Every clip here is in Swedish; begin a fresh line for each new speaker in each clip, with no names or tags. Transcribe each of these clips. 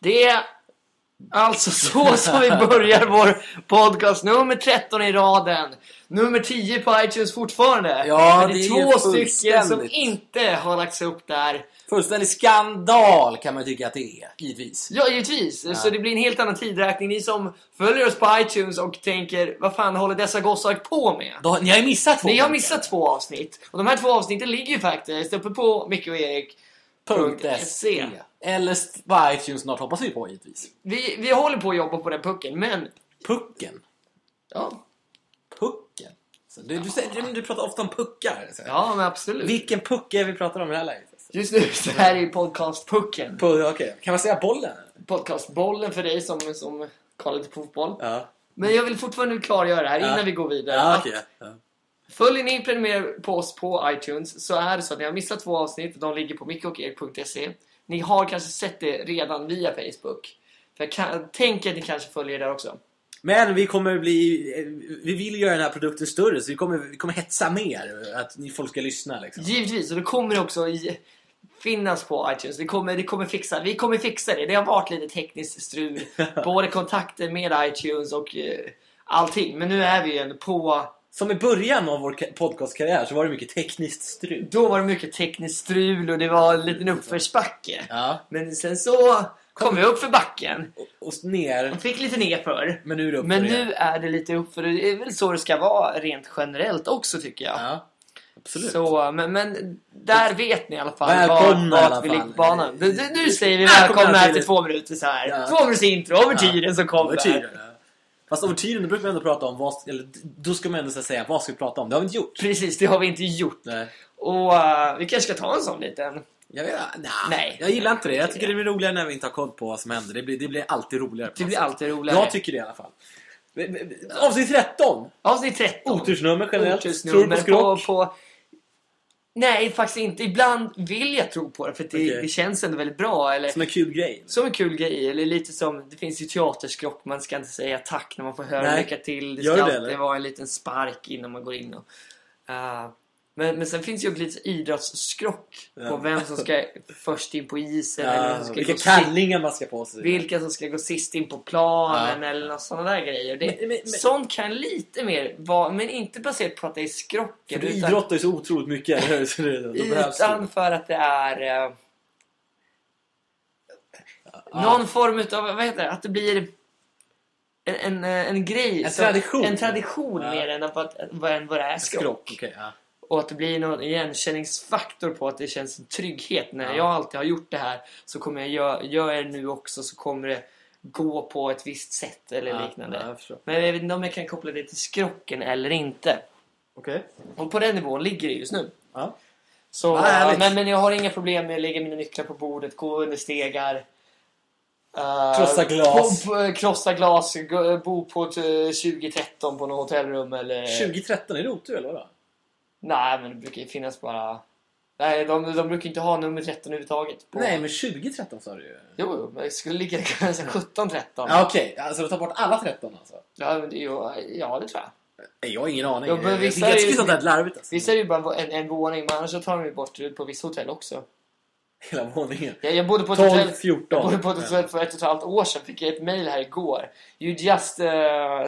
Det är alltså så som vi börjar vår podcast nummer 13 i raden. Nummer 10 på iTunes fortfarande.
Ja,
Men det
det
är
är
två stycken
fullständigt.
som inte har lagts upp där.
Fullständig skandal kan man tycka att det är, givetvis.
Ja, givetvis. Så det blir en helt annan tidräkning. Ni som följer oss på iTunes och tänker vad fan håller dessa gossar på med?
Då, ni har ju missat två
Ni har
punkter.
missat två avsnitt. Och de här två avsnitten ligger ju faktiskt uppe på Micke och Erik.
Punkt
.se.
.se. Eller st- på iTunes snart hoppas vi på givetvis.
Vi, vi håller på att jobba på den pucken, men...
Pucken.
Ja,
Pucken. Så du, du, säger- du, du pratar ofta om puckar. Så.
ja men absolut.
Vilken puck är vi pratar om i det här läget? alltså?
Just nu så här är ju podcastpucken.
På, okay. Kan man säga bollen?
Podcastbollen för dig som, som kollar lite på fotboll.
Ja.
Men jag vill fortfarande klargöra här
Ja.
innan vi går vidare.
Ja,
att
okej. ja.
Följer ni prenumererar på oss på iTunes så är det så att ni har missat två avsnitt. De ligger på mickeocherik.se. Ni har kanske sett det redan via Facebook. För jag kan, tänker att ni kanske följer där också.
Men vi kommer bli... eh, Vi vill göra den här produkten större så vi kommer, vi kommer hetsa mer. Att ni folk ska lyssna liksom.
Givetvis, och det kommer också i, finnas på iTunes. Det kommer, det kommer fixa, vi kommer fixa det. Det har varit lite tekniskt strul. både kontakter med iTunes och eh, allting. Men nu är vi ju ändå på...
Som i början av vår ka- podcastkarriär så var det mycket tekniskt strul.
Då var det mycket tekniskt strul och det var en liten uppförsbacke.
Ja.
Men sen så kom vi upp för backen.
Och, och ner.
Fick lite nerför.
Men nu är det upp
Men
för er.
nu är det lite upp för det är väl så det ska vara rent generellt också tycker jag.
Ja. Absolut.
Så, men, men där vet ni i alla fall
Välkomna
vart,
i alla
vart vi
fall.
ligger på banan. Nu, nu säger vi
Välkomna
välkomna här
till-
till två minuter så här.
Ja.
Två minuters intro, över
Ja.
tiden som kommer.
Över tiden. ja. Fast över tiden då brukar man ändå prata om vad... Eller, då ska man ändå så här säga vad ska vi prata om. Det har vi inte gjort.
Precis, det har vi inte gjort.
Nej.
Och eh, vi kanske ska ta en sån liten.
Jag vet, nej.
Nej.
Jag gillar inte det. Jag tycker det blir roligare när vi inte har koll på vad som händer. Det blir, det blir alltid roligare. på
Det
något
blir
sätt.
alltid roligare.
Alltså, Jag tycker det i alla fall. Avsnitt 13!
Avsnitt 13.
Otursnummer generellt. Tror du
Otursnummer
på skrock?
på... Nej, faktiskt inte. Ibland vill jag tro på det för att det,
Okej.
det känns ändå väldigt bra. Eller...
Som en kul grej.
Som en kul grej, eller lite som, det finns ju teaterskrock, man ska inte säga tack när man får höra
Nej.
lycka till. Det
Gör
ska
det,
alltid
eller?
vara en liten spark innan man går in. Och, Ah, men, men sen finns ju också lite idrottsskrock
Ja.
på vem som ska först in på isen, eller vem
Ja,
som ska
Eh, vilka
gå sist,
kallingar man ska på sig.
vilka som ska gå sist in på planen eller något sådana där grejer. Det,
Men- men- men-
sånt kan lite mer vara, men inte baserat på att det är skrocken.
För du idrottar ju så otroligt mycket, eller hur? Så det, då behövs det.
Utan för att det är... Eh, Någon form utav, vad heter det, att det blir en, en, eh, en grej.
En tradition.
En tradition
Ja.
mer än att- att- vad än vad det är skrock.
skrock. okej, ja.
Och att det blir någon igenkänningsfaktor på att det känns en trygghet. När
Ja.
jag alltid har gjort det här så kommer jag göra gör jag det nu också så kommer det gå på ett visst sätt eller
Ja,
liknande.
ja, jag förstår.
Men jag vet inte om jag kan koppla det till skrocken eller inte.
Okej.
Och på den nivån ligger det just nu.
Ja.
Så,
Vad härligt.
men, men jag har inga problem med att lägga mina nycklar på bordet, gå under stegar. eh,
Krossa glas.
På, på, krossa glas, gå- bo på ett eh, 2013 på något hotellrum eller...
2013, Eh. är det otur eller vadå?
Nej, men det brukar ju finnas bara... Nej, de, de brukar inte ha nummer 13 överhuvudtaget. På...
Nej, men 2013 sa du ju.
Jo, jo, men det skulle ligga kanske 17, 13. Ja,
Ja, okej. Alltså, du tar bort alla 13 alltså?
men det- jo, ja, det tror jag.
Nej, jag har ingen aning.
Ja, men
jag
vissa
tycker
är ju-
att sånt där är larvigt alltså.
Vissa är det ju bara en, en våning, men annars så tar de ju bort det på vissa hotell också.
Hela våningen.
Jag, jag bodde på ett
12,
hotell...
14.
Jag bodde på ett hotell för ett och ett halvt år sedan. Fick jag ett mail här igår. You just uh,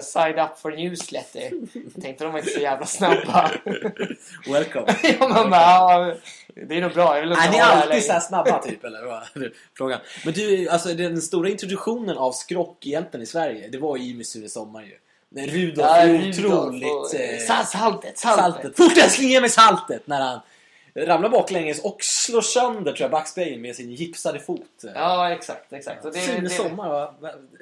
signed up for newsletter. Jag tänkte de var inte så jävla snabba.
Welcome.
ja, man bara, ja, det är nog bra. Jag vill nog
Är
ha
ni
det här
alltid
längre.
så här snabba typ eller? vad är det? Frågan. Men du, alltså den stora introduktionen av skrock egentligen i Sverige, det var ju i Missouri Sommar ju. När Rudolf
Ja,
är
Rudolf och-
otroligt... eh,
Sa- Saltet, saltet.
saltet. Fort älskling, ge mig saltet! När han ramlar baklänges och slår sönder tror jag backspegeln med sin gipsade fot. Eh,
Ja, exakt, exakt. Och det,
Fin
det,
sommar va?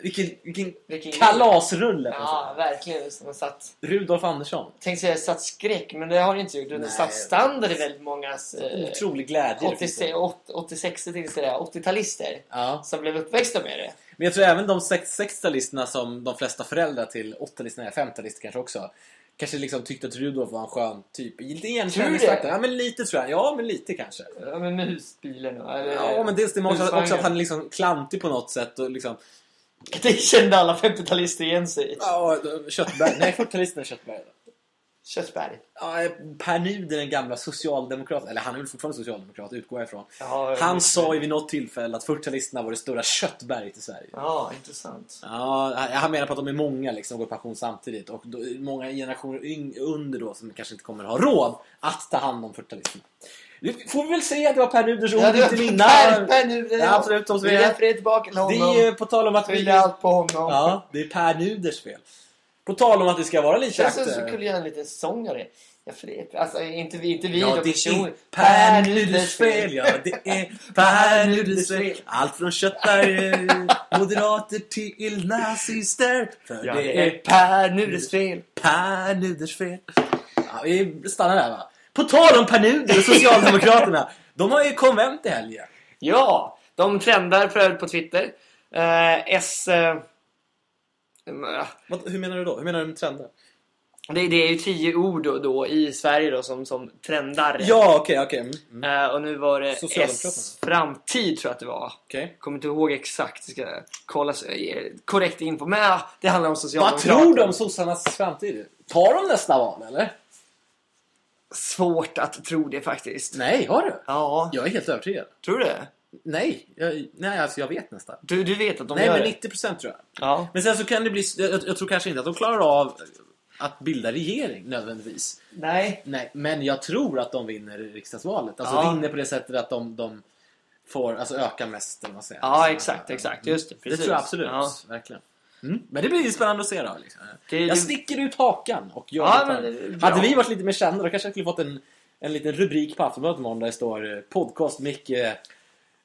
Vilken, vilken
Vilken
kalasrulle!
ja, verkligen. Som har satt,
Rudolf Andersson.
tänkte säga satt skräck, men det har det inte gjort. Den har
Nej.
satt standard i väldigt många eh,
Otrolig glädje. det finns
86
där.
86 till sådär 80-talister
Ja.
som blev uppväxta med det.
Men jag tror även de 60-talisterna som de flesta föräldrar till 80-talisterna, 50-talister kanske också Kanske liksom tyckte att Rudolf var en skön typ. Lite igenkänningsfaktor.
Tror du det?
Ja men lite tror jag. Ja men lite kanske.
Ja, men med husbilen och... eller-
Ja men dels det men också,
husvagnen.
också att han är liksom klantig på något sätt och liksom
Det kände alla 50-talister igen sig i.
Ja, Köttberg. Nej 40-talisterna är Köttberg.
Köttberg.
Ja, Per Nuder, den gamla socialdemokrat, eller han är väl fortfarande socialdemokrat, utgår jag ifrån.
Ja,
Han sa ju vid något tillfälle att 40-talisterna var det stora köttberget i Sverige.
Ja, intressant.
Ja, han- han menar på att de är många liksom och går i pension samtidigt och då, många generationer yng, under då som kanske inte kommer ha råd att ta hand om 40-talisterna. Nu får vi väl se, det var Per Nuders ord, inte mina.
Per nu.
Ja, absolut, de som
Vi
är-
refererar tillbaka till
Det
honom.
är ju på tal om att vi...
Skyller allt på honom.
Ja, det är Per Nuders fel. På tal om att vi ska vara lite
Sen så skulle
aktiva.
jag göra en liten sång av det. Jag förlep, alltså inte vi, inte vi
Ja,
då,
det
personer.
är Per Nuders fel. Ja, det är Per Nuders fel. Allt från köttberg, moderater till nazister. För
Ja,
det är
Per Nuders fel.
Per Nuders fel. Ja, vi stannar där va. På tal om Per Nuder och Socialdemokraterna. de har ju konvent i helgen.
Ja, de trendar för övrigt på Twitter. Eh, S... Eh,
Vad, hur menar du då? Hur menar du med trender?
det, det är ju tio ord då, då i Sverige då som, som trendar.
Ja, okej, okej. Mm, mm,
Eh, och nu var det
Socialdemokraterna.
S framtid tror jag att det var.
okej.
Kommer inte ihåg exakt. Ska kolla så jag ger korrekt info. Men ja, det handlar om
Vad
Socialdemokraterna.
tror du om sossarnas framtid? Tar de nästa val eller?
Svårt att tro det faktiskt.
Nej, har du?
Ja,
Jag är helt övertygad.
tror du det?
Nej, jag, nej alltså jag vet nästan.
Du, du vet att de
Nej,
gör
men
det?
90% tror jag.
Ja.
Men sen så kan det bli... Jag, jag tror kanske inte att de klarar av att bilda regering nödvändigtvis.
Nej.
Nej, men jag tror att de vinner riksdagsvalet. Alltså
Ja.
vinner på det sättet att de, de får alltså, öka mest. Eller vad man säger. Mm.
Ja, exakt, exakt. Just det.
Det
Precis.
tror jag absolut.
Ja.
Verkligen. Mm. Men det blir ju spännande att se då. Liksom.
Det-
Jag
det-
sticker ut hakan och gör
Ja,
det
men det är bra.
Hade vi varit lite mer kända då kanske jag skulle fått en, en liten rubrik på Aftonbladet imorgon där det står eh, Podcast Micke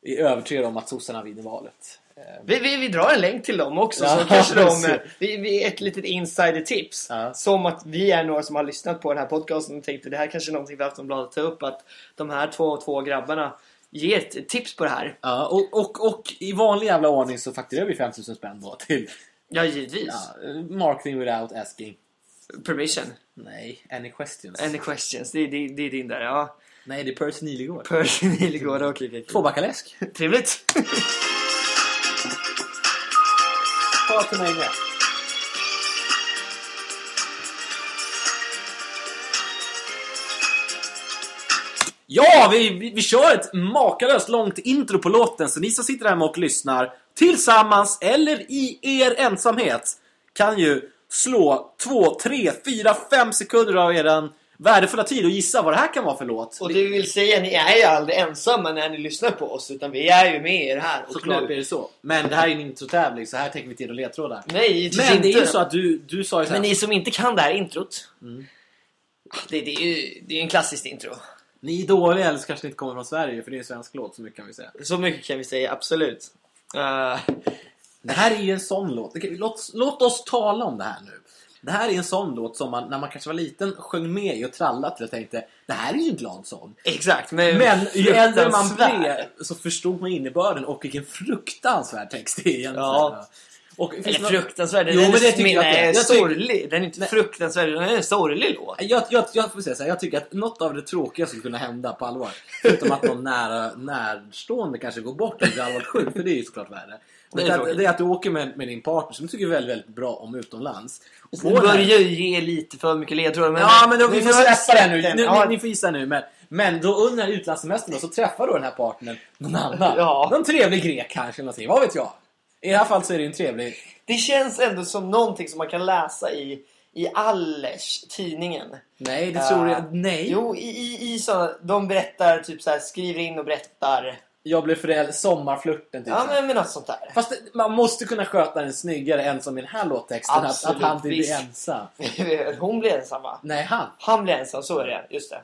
är övertygad om att sossarna vinner valet. Eh,
Vi, vi, vi drar en länk till dem också.
Ja,
så kanske de,
precis.
vi, vi, ett litet insider-tips.
Ja.
Som att vi är några som har lyssnat på den här podcasten och tänkte det här kanske är någonting för Aftonbladet att ta upp. Att de här två, två grabbarna ger ett tips på det här.
Ja, och, och, och i vanlig jävla ordning så fakturerar vi 5000 spänn då till
Ja, givetvis.
ja, eh, Marketing Without Asking.
Permission.
Nej, any questions?
Any questions. Det, det, det är din där, ja.
Nej, det är Percy Nilegård.
Percy Nilegård och...
Tvåbackaläsk.
Trevligt!
Ta till mig med. Ja, vi, vi, vi kör ett makalöst långt intro på låten så ni som sitter hemma och lyssnar tillsammans eller i er ensamhet kan ju slå 2, 3, 4, 5 sekunder av er värdefulla tid och gissa vad det här kan vara för låt.
Och det vi vill säga, ni är ju aldrig ensamma när ni lyssnar på oss. Utan vi är ju med er här och
Såklart
nu.
är det så. Men det här är en introtävling så här tänker vi till och ledtrådar.
Nej, givetvis
Men det är
inte.
ju så att du, du sa ju såhär,
Men
ni...
ni som inte kan det här introt. Det, det är ju det är en klassiskt intro.
är dåliga eller så kanske ni inte kommer från Sverige för det är en svensk låt, så mycket kan vi säga.
Så mycket kan vi säga, absolut. Eh,
Det här är ju en sån låt. Okej, Låt, låt oss tala om det här nu. Det här är en sån låt som man när man kanske var liten sjöng med i och trallade till och tänkte det här är ju en glad sång.
exakt, men,
Men ju äldre man
fruktansvärd.
blev så förstod man innebörden och vilken fruktansvärd text det är egentligen.
Ja.
Och, finns det
Eller
någon-
fruktansvärd.
Jo,
den
men det
är,
tycker jag
nej,
inte. Jag tycker-
sorglig. Den är inte
Nej.
fruktansvärd, den är en sorglig låt.
Jag, jag, jag får säga så här, jag tycker att något av det tråkiga skulle kunna hända på allvar. Förutom att någon nära, närstående kanske går bort och blir allvarligt sjuk, för det är ju såklart värre.
Det är
Det är, att,
tråkigt.
det är att du åker med, med din partner som du tycker väldigt, väldigt bra om utomlands. Och
Du
på den här-
börjar ju ge lite för mycket ledtrådar. Men
Ja men då, vi
nu
får
har jag
släppa det nu.
släppt
nu
den. Ja,
ni, ni får gissa nu. Men, men då under den här utlandssemestern då, så träffar då den här partnern någon annan.
Ja.
Någon trevlig grek kanske eller någonting, vad vet jag. I det här fallet så är det ju en trevlig...
Det känns ändå som någonting som man kan läsa i, i Allers, tidningen.
Nej, det tror
Ah.
jag... Nej.
Jo, i, i, i sådana, de berättar, typ så här, skriver in och berättar.
Jag blev förälder, sommarflirten typ.
Ja, men, men något sånt där.
Fast det- man måste kunna sköta den snyggare än som i den här låttexten. Att, att
Absolut,
han typ
visst.
är ensam.
Hon blir ensam va?
Nej, han.
Han blir ensam, så är det. Just det.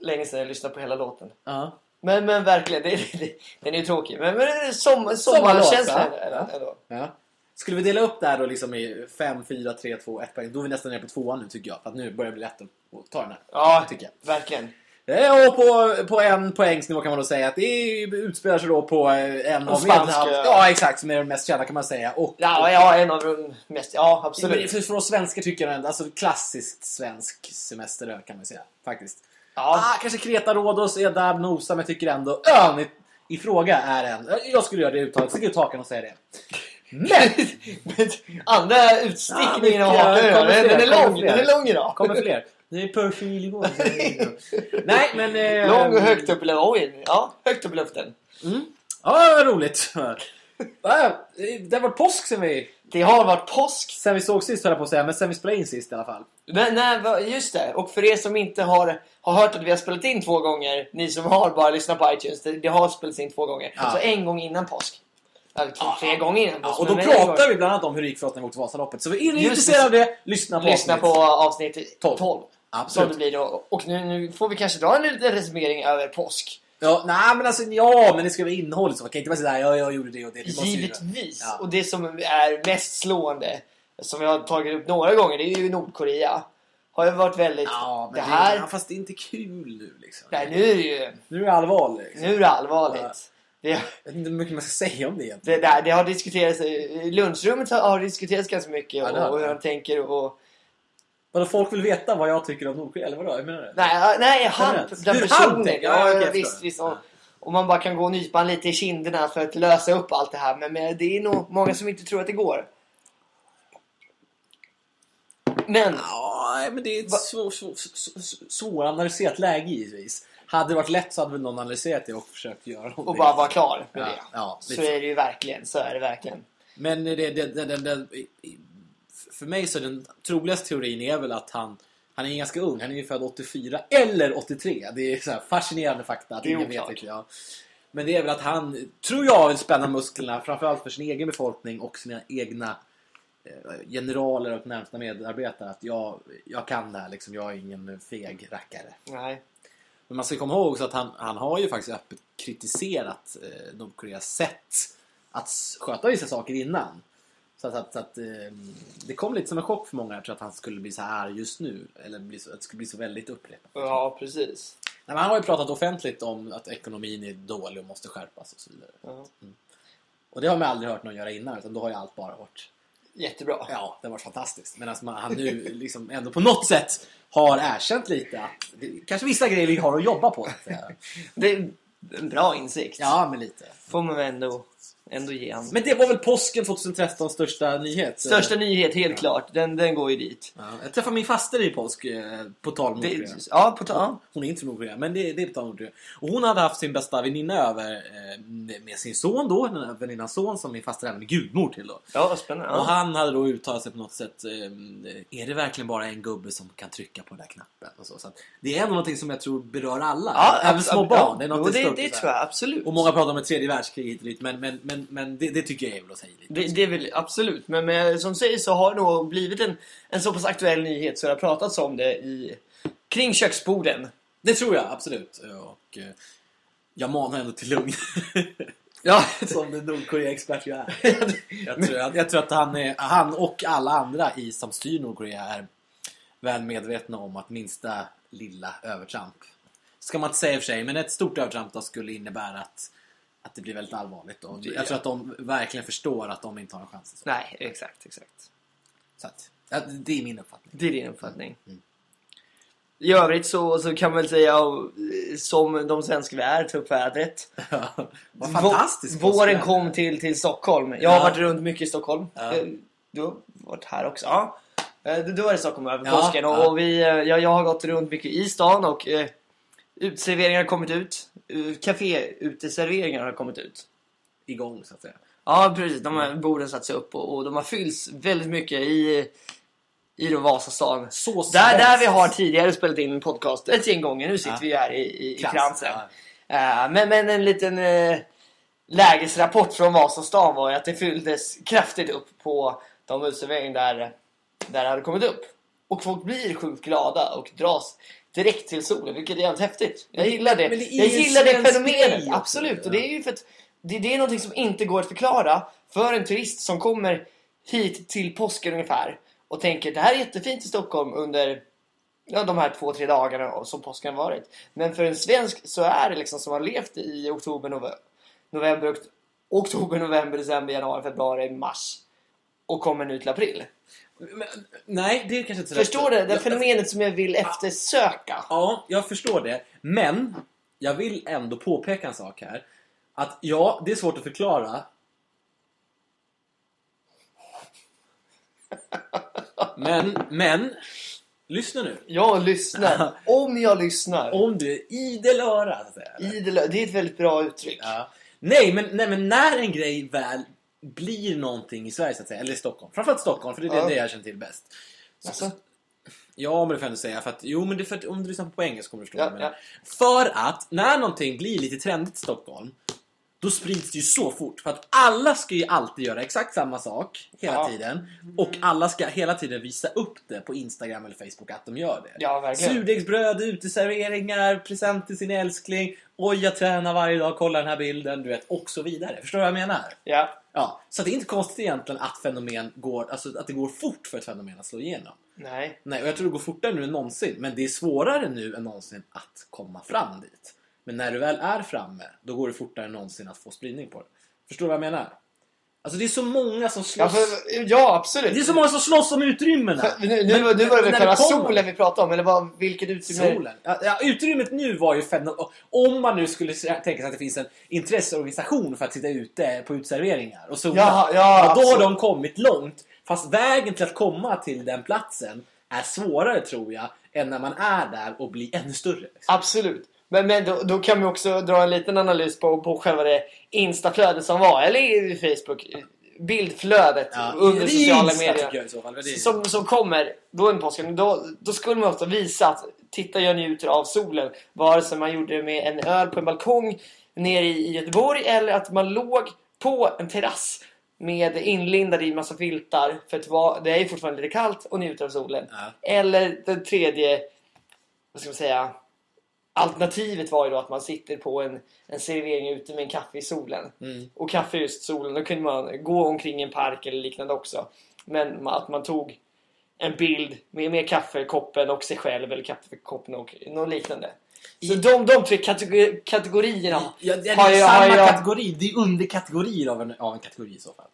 Länge sedan jag lyssnade på hela låten.
Ja.
Men, men verkligen, det, det, den är ju tråkig. Men, men det är som,
Sommarlåt,
sommarkänslan
va?
ändå. ändå.
ja. Skulle vi dela upp det här då liksom i 5, 4, 3, 2, 1 poäng. Då är vi nästan nere på tvåan nu tycker jag. För att nu börjar det bli lätt att att ta den här.
Ja,
Tycker jag.
verkligen.
Eh, Och på, på en poängsnivå kan man då säga att det utspelar sig då på eh, en av
spanska-
Medelhavs... Ja, exakt. Som är den mest kända kan man säga. Och
Ja, ja, en av de mest... Ja,
Men
absolut.
För, för oss svenskar tycker jag ändå, alltså klassiskt svensk semesterö kan man säga. Faktiskt.
Ja,
Ah, kanske Kreta Rhodos är där nosa men jag tycker ändå ön i, i fråga är en. Jag skulle göra det uttalet, sticka ut hakan och säga det. Men!
andra utstickningen av
mycket.
hakan.
Kommer
Den, den är
fler,
lång.
kommer
Den
fler.
är lång idag.
kommer fler. Det är perfil i vår. Nej, men... eh,
Lång och högt upp i luften. Oj, ja, högt upp i luften.
Ja, vad roligt. Ja, det har varit påsk sen vi,
Det har varit påsk.
sen vi såg sist, höll jag på att säga. Men sen vi spelade in sist i alla fall.
Men, nej, va- just det. Och för er som inte har, har hört att vi har spelat in två gånger, ni som har bara lyssnat på iTunes, det, det har spelats in två gånger.
Ja.
Så en gång innan påsk. Eller två, tre gånger innan
Ja,
påsk.
och då
men en gång.
pratar vi bland annat om hur det gick för oss när vi åkte Vasaloppet. Så är ni
Just
intresserade av det, lyssna på
Lyssna på
avsnittet.
avsnitt 12. 12
Tolv.
som det
Absolut.
blir då. Och nu, nu får vi kanske dra en liten resumering över påsk.
Ja, nej, men alltså, ja, men det ska vara innehåll så. Man kan inte bara säga "Nej, ja, jag gjorde det och det. det måste ju-
Givetvis.
Ja.
Och det som är mest slående, som vi har tagit upp några gånger, det är ju Nordkorea. Har ju varit väldigt...
Ja, men
det här...
ja, fast det är inte kul nu liksom.
Nej, nu är det ju...
Nu är det allvar liksom.
Nu är det allvarligt.
Ja.
Det,
Jag vet inte hur mycket man ska säga om det egentligen.
det, där, det har diskuterats... eh, i Lunchrummet har, har diskuterats ganska mycket
Ja, det har
och, och hur
det.
de tänker och...
Vadå, folk vill veta vad jag tycker om Nordkorea, eller vadå? Jag menar det.
Nej, nej han,
Generellt.
den
Hur
personen.
han tänker? Ja,
ja,
okej, jag
visst,
förstår.
visst. Och, och man bara kan gå och nypa han lite i kinderna för att lösa upp allt det här. Men, men det är nog många som inte tror att det går. Men...
Ja, men det är ett
Va-
svår, svår, svår, svåranalyserat läge givetvis. Hade det varit lätt så hade väl någon analyserat det och försökt göra någonting.
och bara vara klar med
ja,
det.
ja,
Så
lite
är det ju verkligen. Så är det verkligen.
Men det, det, det, det, det, för mig så är den troligaste teorin är väl att han, han är ganska ung. Han är ju född 84 eller 83. Det är så här fascinerande fakta. Att
Det är
ingen
oklart.
vet riktigt, ja. Men det är väl att han, tror jag, vill spänna musklerna framförallt för sin egen befolkning och sina egna eh, generaler och närmsta medarbetare. Att jag, jag kan det här liksom. Jag är ingen feg rackare.
Nej.
Men man ska komma ihåg också att han, han har ju faktiskt öppet kritiserat eh, Nordkoreas sätt att s- sköta vissa saker innan. Så att, att, att eh, det kom lite som en chock för många jag tror att han skulle bli så här arg just nu. Eller bli så, att det skulle bli så väldigt upprepat.
Ja, precis.
Nej, men han har ju pratat offentligt om att ekonomin är dålig och måste skärpas och så vidare.
Ja.
Och det har man aldrig hört någon göra innan utan då har ju allt bara varit
Jättebra.
Ja, det har varit fantastiskt. Medan man, han nu liksom ändå på något sätt har erkänt lite att det, kanske vissa grejer vi har att jobba på. så att säga.
Det är en bra insikt.
Ja, men lite.
Får man ändå, ändå ge han.
Men det var väl påsken 2013 största nyhet?
Största nyhet, helt klart. Den, den går ju dit.
Ja, jag träffade min faster i påsk, eh, på tal om Nordkorea.
Det, ja, på ta- ja.
Hon är inte från Nordkorea, men det, det är på tal om Nordkorea. Och hon hade haft sin bästa väninna över eh, med- med sin son då, den här väninnans son som min faster även är gudmor till då.
ja, vad spännande.
Och
Ja.
han hade då uttalat sig på något sätt, eh, är det verkligen bara en gubbe som kan trycka på den där knappen? Och så. Så att det är ändå någonting som jag tror berör alla, även
abs-
små
ab-
barn.
ja.
Det är
Jo,
något
det,
stort,
det
så här.
tror jag absolut.
Och många pratar om ett tredje världskrig hit och dit, men, men, men, men det, det tycker jag är väl att säga lite.
Det, det vill absolut. Men, men som sägs så har det nog blivit en, en så pass aktuell nyhet så det har pratats om det i, kring köksborden.
Det tror jag absolut. Och eh, jag manar ändå till lugn.
Ja,
Som den Nordkorea-expert jag är. Jag tror, att- jag tror att han, är, han och alla andra i som styr Nordkorea är väl medvetna om att minsta lilla övertramp, ska man inte säga i och för sig, men ett stort övertramp då skulle innebära att, att det blir väldigt allvarligt. Och jag tror att de verkligen förstår att de inte har en chans.
nej, exakt, exakt.
Så att, ja, det är min uppfattning.
Det är din uppfattning.
Mm.
I övrigt så, så kan man väl säga och, eh, som de svenskar vi är, ta upp vädret.
Vad fantastiskt!
Vå- Våren kom till, till Stockholm. Jag har
Ja.
varit runt mycket i Stockholm.
Ja.
Eh, Du har varit här också. Ja. Eh, Du, du var i Stockholm över
Ja,
påsken och,
ja.
och vi, eh, jag, jag har gått runt mycket i stan och eh, utserveringar har kommit ut. Eh, Café-uteserveringar har kommit ut.
igång så att säga.
Ja precis, de här borden satts upp och, och de har fyllts väldigt mycket i, i då Vasastan.
Så
Där, där
svenskt.
vi har tidigare spelat in en podcast ett gäng gånger. Nu sitter
Ja.
vi ju här i, i, i
Kransen,
kransen. Eh, men, men en liten eh, lägesrapport från Vasastan var ju att det fylldes kraftigt upp på de uteserveringar där, där det hade kommit upp. Och folk blir sjukt glada och dras direkt till solen, vilket är jävligt häftigt. Jag gillar det.
men det är
jag
ju en
gillar det
svensk
fenomenet,
grej också.
absolut. Och det är ju för att det, det är någonting som inte går att förklara för en turist som kommer hit till påsken ungefär och tänker det här är jättefint i Stockholm under ja, de här två, tre dagarna som påsken har varit. Men för en svensk så är det liksom som har levt i oktober, nove- november, okt- oktober, november, december, januari, februari, mars och kommer nu till april.
Men, nej, det är kanske inte så
Förstår du? Det
Jag-
fenomenet som jag vill eftersöka.
Ja, jag förstår det. Men jag vill ändå påpeka en sak här. Att ja, det är svårt att förklara. Men, men Lyssna nu.
Jag lyssnar. Om jag lyssnar.
Om du är idel öra, så att säga.
Idel, det är ett väldigt bra uttryck.
Ja. Nej, men, nej, men när en grej väl blir någonting i Sverige, så att säga, eller i Stockholm. Framförallt Stockholm, för det är
Ja.
det jag känner till bäst. Så,
Alltså,
Ja, men det får jag ändå säga. För att, jo, men det är för att om du lyssnar på engelska kommer du förstå
Ja,
vad jag menar. För att när någonting blir lite trendigt i Stockholm, då sprids det ju så fort. För att alla ska ju alltid göra exakt samma sak hela
Ja.
tiden. Och alla ska hela tiden visa upp det på Instagram eller Facebook att de gör det.
ja, verkligen.
Surdegsbröd, uteserveringar, present till sin älskling. Oj, jag tränar varje dag, kolla den här bilden, du vet. Och så vidare. Förstår du vad jag menar?
Ja.
Ja, så att det är inte konstigt egentligen att fenomen går, alltså att det går fort för ett fenomen att slå igenom.
Nej.
Nej, och jag tror det går fortare nu än någonsin. Men det är svårare nu än någonsin att komma fram dit. Men när du väl är framme, då går det fortare än någonsin att få spridning på det. Förstår du vad jag menar? Alltså det är så många som
Ja,
slåss...
för, ja absolut.
Det är så många som slåss om utrymmena!
För- Nu, nu, var- nu var det väl
när
själva
kommer-
solen vi pratade om, eller vad, vilket utrymme?
Solen. Ja, ja, utrymmet nu var ju fem... Om man nu skulle se- tänka sig att det finns en intresseorganisation för att sitta ute på utserveringar och sola.
Jaha, ja,
då har
absolut.
de kommit långt. Fast vägen till att komma till den platsen är svårare tror jag än när man är där och blir ännu större. liksom.
Absolut. Men, men då, då kan vi också dra en liten analys på, på själva det instaflödet som var, eller i Facebook. Bildflödet
Ja,
under
det är
sociala
Insta,
medier.
tycker jag i så fall. Det är-
som, som kommer då under påsken. Då, då skulle man ofta visa att titta jag njuter av solen. Vare sig man gjorde det med en öl på en balkong nere i i Göteborg eller att man låg på en terrass med inlindad i massa filtar för att det var- det är ju fortfarande lite kallt och njuter av solen.
Ja.
Eller den tredje, vad ska man säga, alternativet var ju då att man sitter på en, en servering ute med en kaffe i solen.
Mm.
Och kaffe i just solen, då kunde man gå omkring i en park eller liknande också. Men ma- att man tog en bild med, med kaffekoppen och sig själv eller kaffekoppen och något liknande. Så
I-
de, de tre kategori, kategorierna
Ja, det är
har jag... Har
samma
jag
kategori. Det är underkategorier av en, av en kategori i så fall.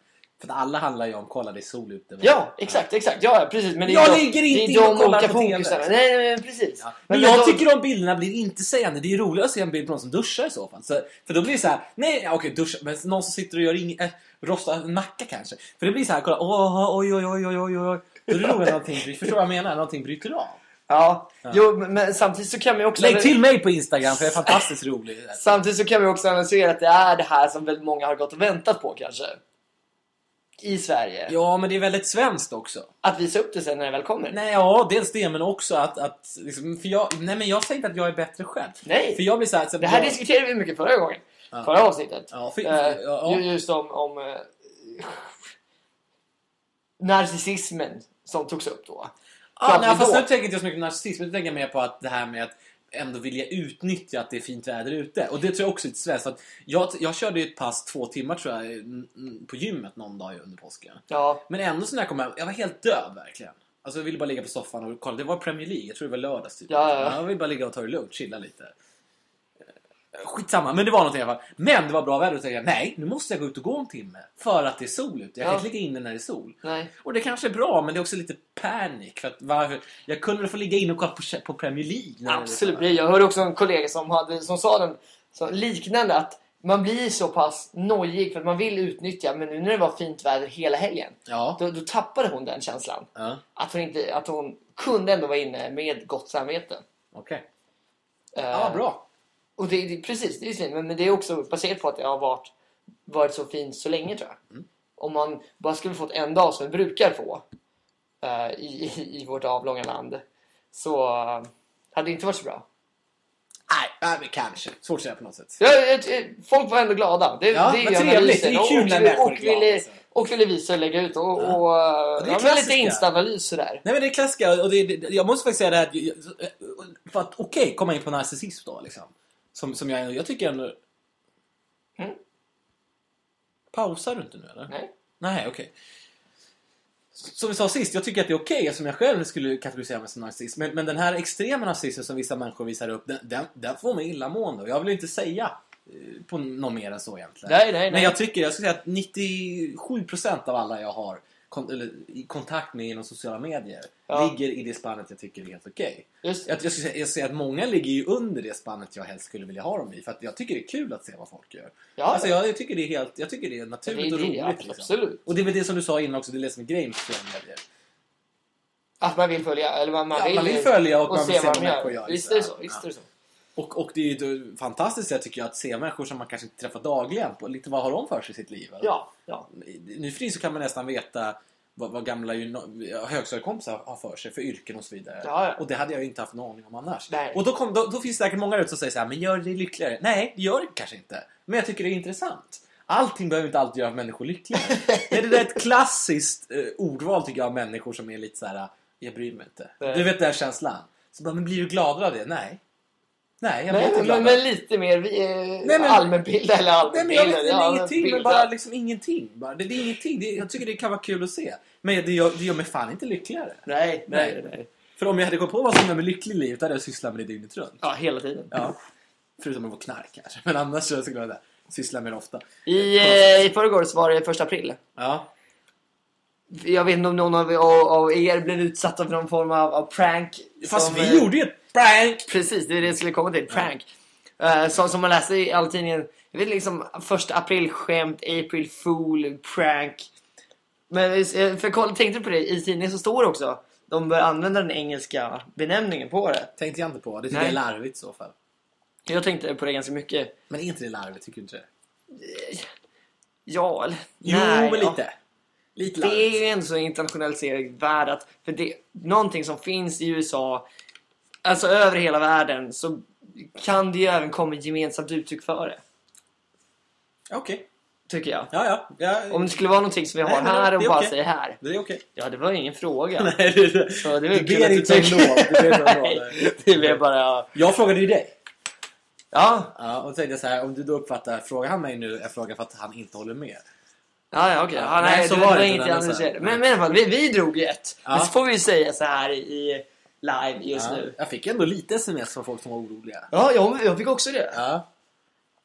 För att alla handlar ju om kolla det är sol ute.
ja, exakt, exakt. Ja, ja, precis. Men det är
Jag
de,
ligger
det
inte
är
in och
de
kollar
olika
på TV.
fokusarna. Nej, nej, nej, precis.
Ja. Men,
Men- men
jag
de-
tycker om bilderna blir inte sägande. Det är ju roligare att se en bild på någon som duschar i så fall. Så, för då blir det så här, nej ja, okej duscha, men någon som sitter och gör inget, äh, rostar en macka kanske. För det blir så här, kolla, åh, oj, oj, oj, oj, oj, oj. Då är det roligare att någonting, bryter- förstår vad jag menar? Någonting bryter av.
Ja, jo, men- men samtidigt så kan man ju också...
Lägg till mig på Instagram för jag är fantastiskt rolig.
Samtidigt så kan vi också analysera att det är det här som väldigt många har gått och väntat på kanske. I Sverige.
Ja, men det är väldigt svenskt också.
Att visa upp det sen när det väl kommer.
Nej, ja, dels det, men också att... att liksom, för jag, nej, men jag säger inte att jag är bättre själv.
Nej.
För jag blir så här... Så
Det här
jag,
diskuterade vi mycket förra gången.
Ja.
Förra avsnittet.
Ja, för-
Eh,
ja.
ju- Just om, om eh, narcissismen som togs upp då.
ja, nej,
Klart
fast
då.
nu tänker inte jag så mycket på narcissism, utan tänker jag mer på att det här med att ändå vilja utnyttja att det är fint väder ute. Och det tror jag också är lite svenskt. för att Jag, jag körde ju ett pass två timmar tror jag n- n- på gymmet någon dag under påsken.
Ja,
Men ändå så när jag kom hem, jag var helt död verkligen. Alltså jag ville bara ligga på soffan och kolla. Det var Premier League, jag tror det var lördags typ.
Ja, ja, ja.
Jag ville bara ligga och ta det lugnt, chilla lite. Eh, Skitsamma, men det var någonting i alla fall. Men det var bra väder och så tänkte jag, nej, nu måste jag gå ut och gå en timme. För att det är sol ute. Jag
Ja.
kan inte ligga inne när det är sol.
nej.
Och det kanske är bra, men det är också lite panik. För att varför? Jag kunde väl få ligga inne och kolla på, på Premier League. när det är
Absolut.
så här.
Jag hörde också en kollega som, hade, som sa den, så liknande att man blir så pass nojig för att man vill utnyttja men nu när det var fint väder hela helgen
Ja.
då, då tappade hon den känslan.
ja
att hon, inte, att hon kunde ändå vara inne med gott samvete.
Okej.
Eh,
Ja, bra.
Och det, det, precis, det är ju fint. Men men det är också baserat på att det har varit, varit så fint så länge tror jag.
Mm.
Om man bara skulle fått en dag som vi brukar få eh, i, i, i vårt avlånga land så eh, hade det inte varit så bra.
Nej, ja, men kanske. Svårt att säga på något sätt.
Ja, jag- jag- folk var ändå glada. Det,
Ja,
det är
vad
ju
trevligt.
analysen.
Det är kul
Och-
när människor är
och,
glada,
ville,
alltså.
och ville visa och lägga ut. Och, och, eh,
det är
ja, men lite
klassiska.
insta-analys sådär.
Nej men det är klassiska och det, det, jag måste faktiskt säga det här att jag- jag- för att okej komma in på narcissism då liksom. Som, som jag, jag tycker ändå...
Mm.
Pausar du inte nu eller?
Nej.
Nej, okej. Som vi sa sist, jag tycker att det är okej eftersom jag själv skulle kategorisera mig som narcissist. Men, men den här extrema narcissismen som vissa människor visar upp, den, den, den får mig illamående. Och jag vill inte säga eh, på något mer än så egentligen.
Nej, nej, nej.
Men jag tycker, jag skulle säga att 97% av alla jag har kon, eller, i kontakt med inom sociala medier
Ja.
ligger i det spannet jag tycker är helt okej.
Just,
Jag, jag, skulle säga, jag säger att många ligger ju under det spannet jag helst skulle vilja ha dem i. För att jag tycker det är kul att se vad folk gör.
ja,
Alltså jag, jag tycker det är helt, jag tycker det är naturligt
det-
och
det-
roligt. liksom.
absolut.
Och det är väl det som du sa innan också, det är det som är grejen med sociala medier.
Att man vill följa, eller man, man,
Ja,
vill,
man vill följa och man vill
se
se
vad
vad
de
människor gör. liksom.
gör. Visst är det så.
Ja.
Visst är det så.
Och, och det är ju då fantastiskt jag tycker jag att se människor som man kanske inte träffar dagligen på lite vad har de för sig i sitt liv? eller?
Ja, ja.
Nu för tiden så kan man nästan veta vad, vad gamla gymna- ja, högstadiekompisar har för sig för yrken och så vidare.
Ja, ja.
Och det hade jag ju inte haft någon aning om annars.
Nej.
Och då, kom, då, då finns det säkert många ut som säger så här, men gör dig lyckligare. Nej, det gör det kanske inte. Men jag tycker det är intressant. Allting behöver inte alltid göra människor lyckliga. det är det där ett klassiskt eh, ordval tycker jag av människor som är lite så här, jag bryr mig inte.
Nej.
Du vet den här känslan. Så bara, men blir du gladare av det? Nej. Nej, jag blir
Nej,
inte
men,
gladare.
men, men lite mer eh,
Nej, men-
allmänbildad eller
Nej men jag vet
allmänbildad. ja,
väl ingenting, men
bildad.
bara liksom ingenting. Bara. Det, det är ingenting. Det, jag tycker det kan vara kul att se. Men det gör, det gör mig fan inte lyckligare.
Nej, nej,
Nej.
nej.
För om jag hade gått på vad som gör mig lycklig i livet hade jag sysslat med det dygnet runt.
Ja, hela tiden.
Ja. Förutom att vara knark kanske. Men annars så skulle jag där. syssla med det ofta.
I, eh, I förrgår så var det första april.
Ja.
Jag vet inte om någon av, av, av er blev utsatt för någon form av, av prank.
Fast
som,
vi
eh,
gjorde ju ett prank!
Precis, det är det jag skulle komma till. Prank. Eh, som, som man läser i all tidningen. Jag vet liksom första aprilskämt, april fool, prank. Men eh, för kolla, tänkte du på det? I tidningen så står det också. De bör använda den engelska benämningen på det.
Tänkte jag inte på. Det tycker
Nej.
jag är larvigt i så fall.
Jag tänkte på det ganska mycket.
Men är inte det larvigt? Tycker du inte det?
Ja, eller?
Jo,
Nej,
men
ja.
lite. Lite
Det
larvigt.
är ju ändå så en internationaliserad värld att för det, någonting som finns i USA, alltså över hela världen, så kan det ju även komma ett gemensamt uttryck för det.
Okej.
Tycker jag.
Ja, ja. ja.
Om det skulle vara någonting som vi har
Nej, men
här
det
och
är
bara
okej.
säger här.
Det är okej.
Ja, det var ju ingen fråga.
Nej, det, det,
Så det är
du
väl kul
ber
att
inte om
tycker-
lov. Du ber inte om lov.
Nej, Det blev bara...
Jag frågade ju dig.
Ja,
Ja, och då tänkte jag så här, om du då uppfattar, frågar han mig nu, jag frågar för att han inte håller med.
Ja, ja okej. Ja,
Ja,
nej,
nej,
så
det
var
var
det
inte
inget
den
jag
andra
analyserade.
sen.
Men, men i alla fall, vi, vi drog ju ett.
Ja.
Men så får vi ju säga så här i, i live just
Ja,
nu.
jag fick ändå lite sms från folk som var oroliga.
Ja, jag, jag fick också det.
Ja.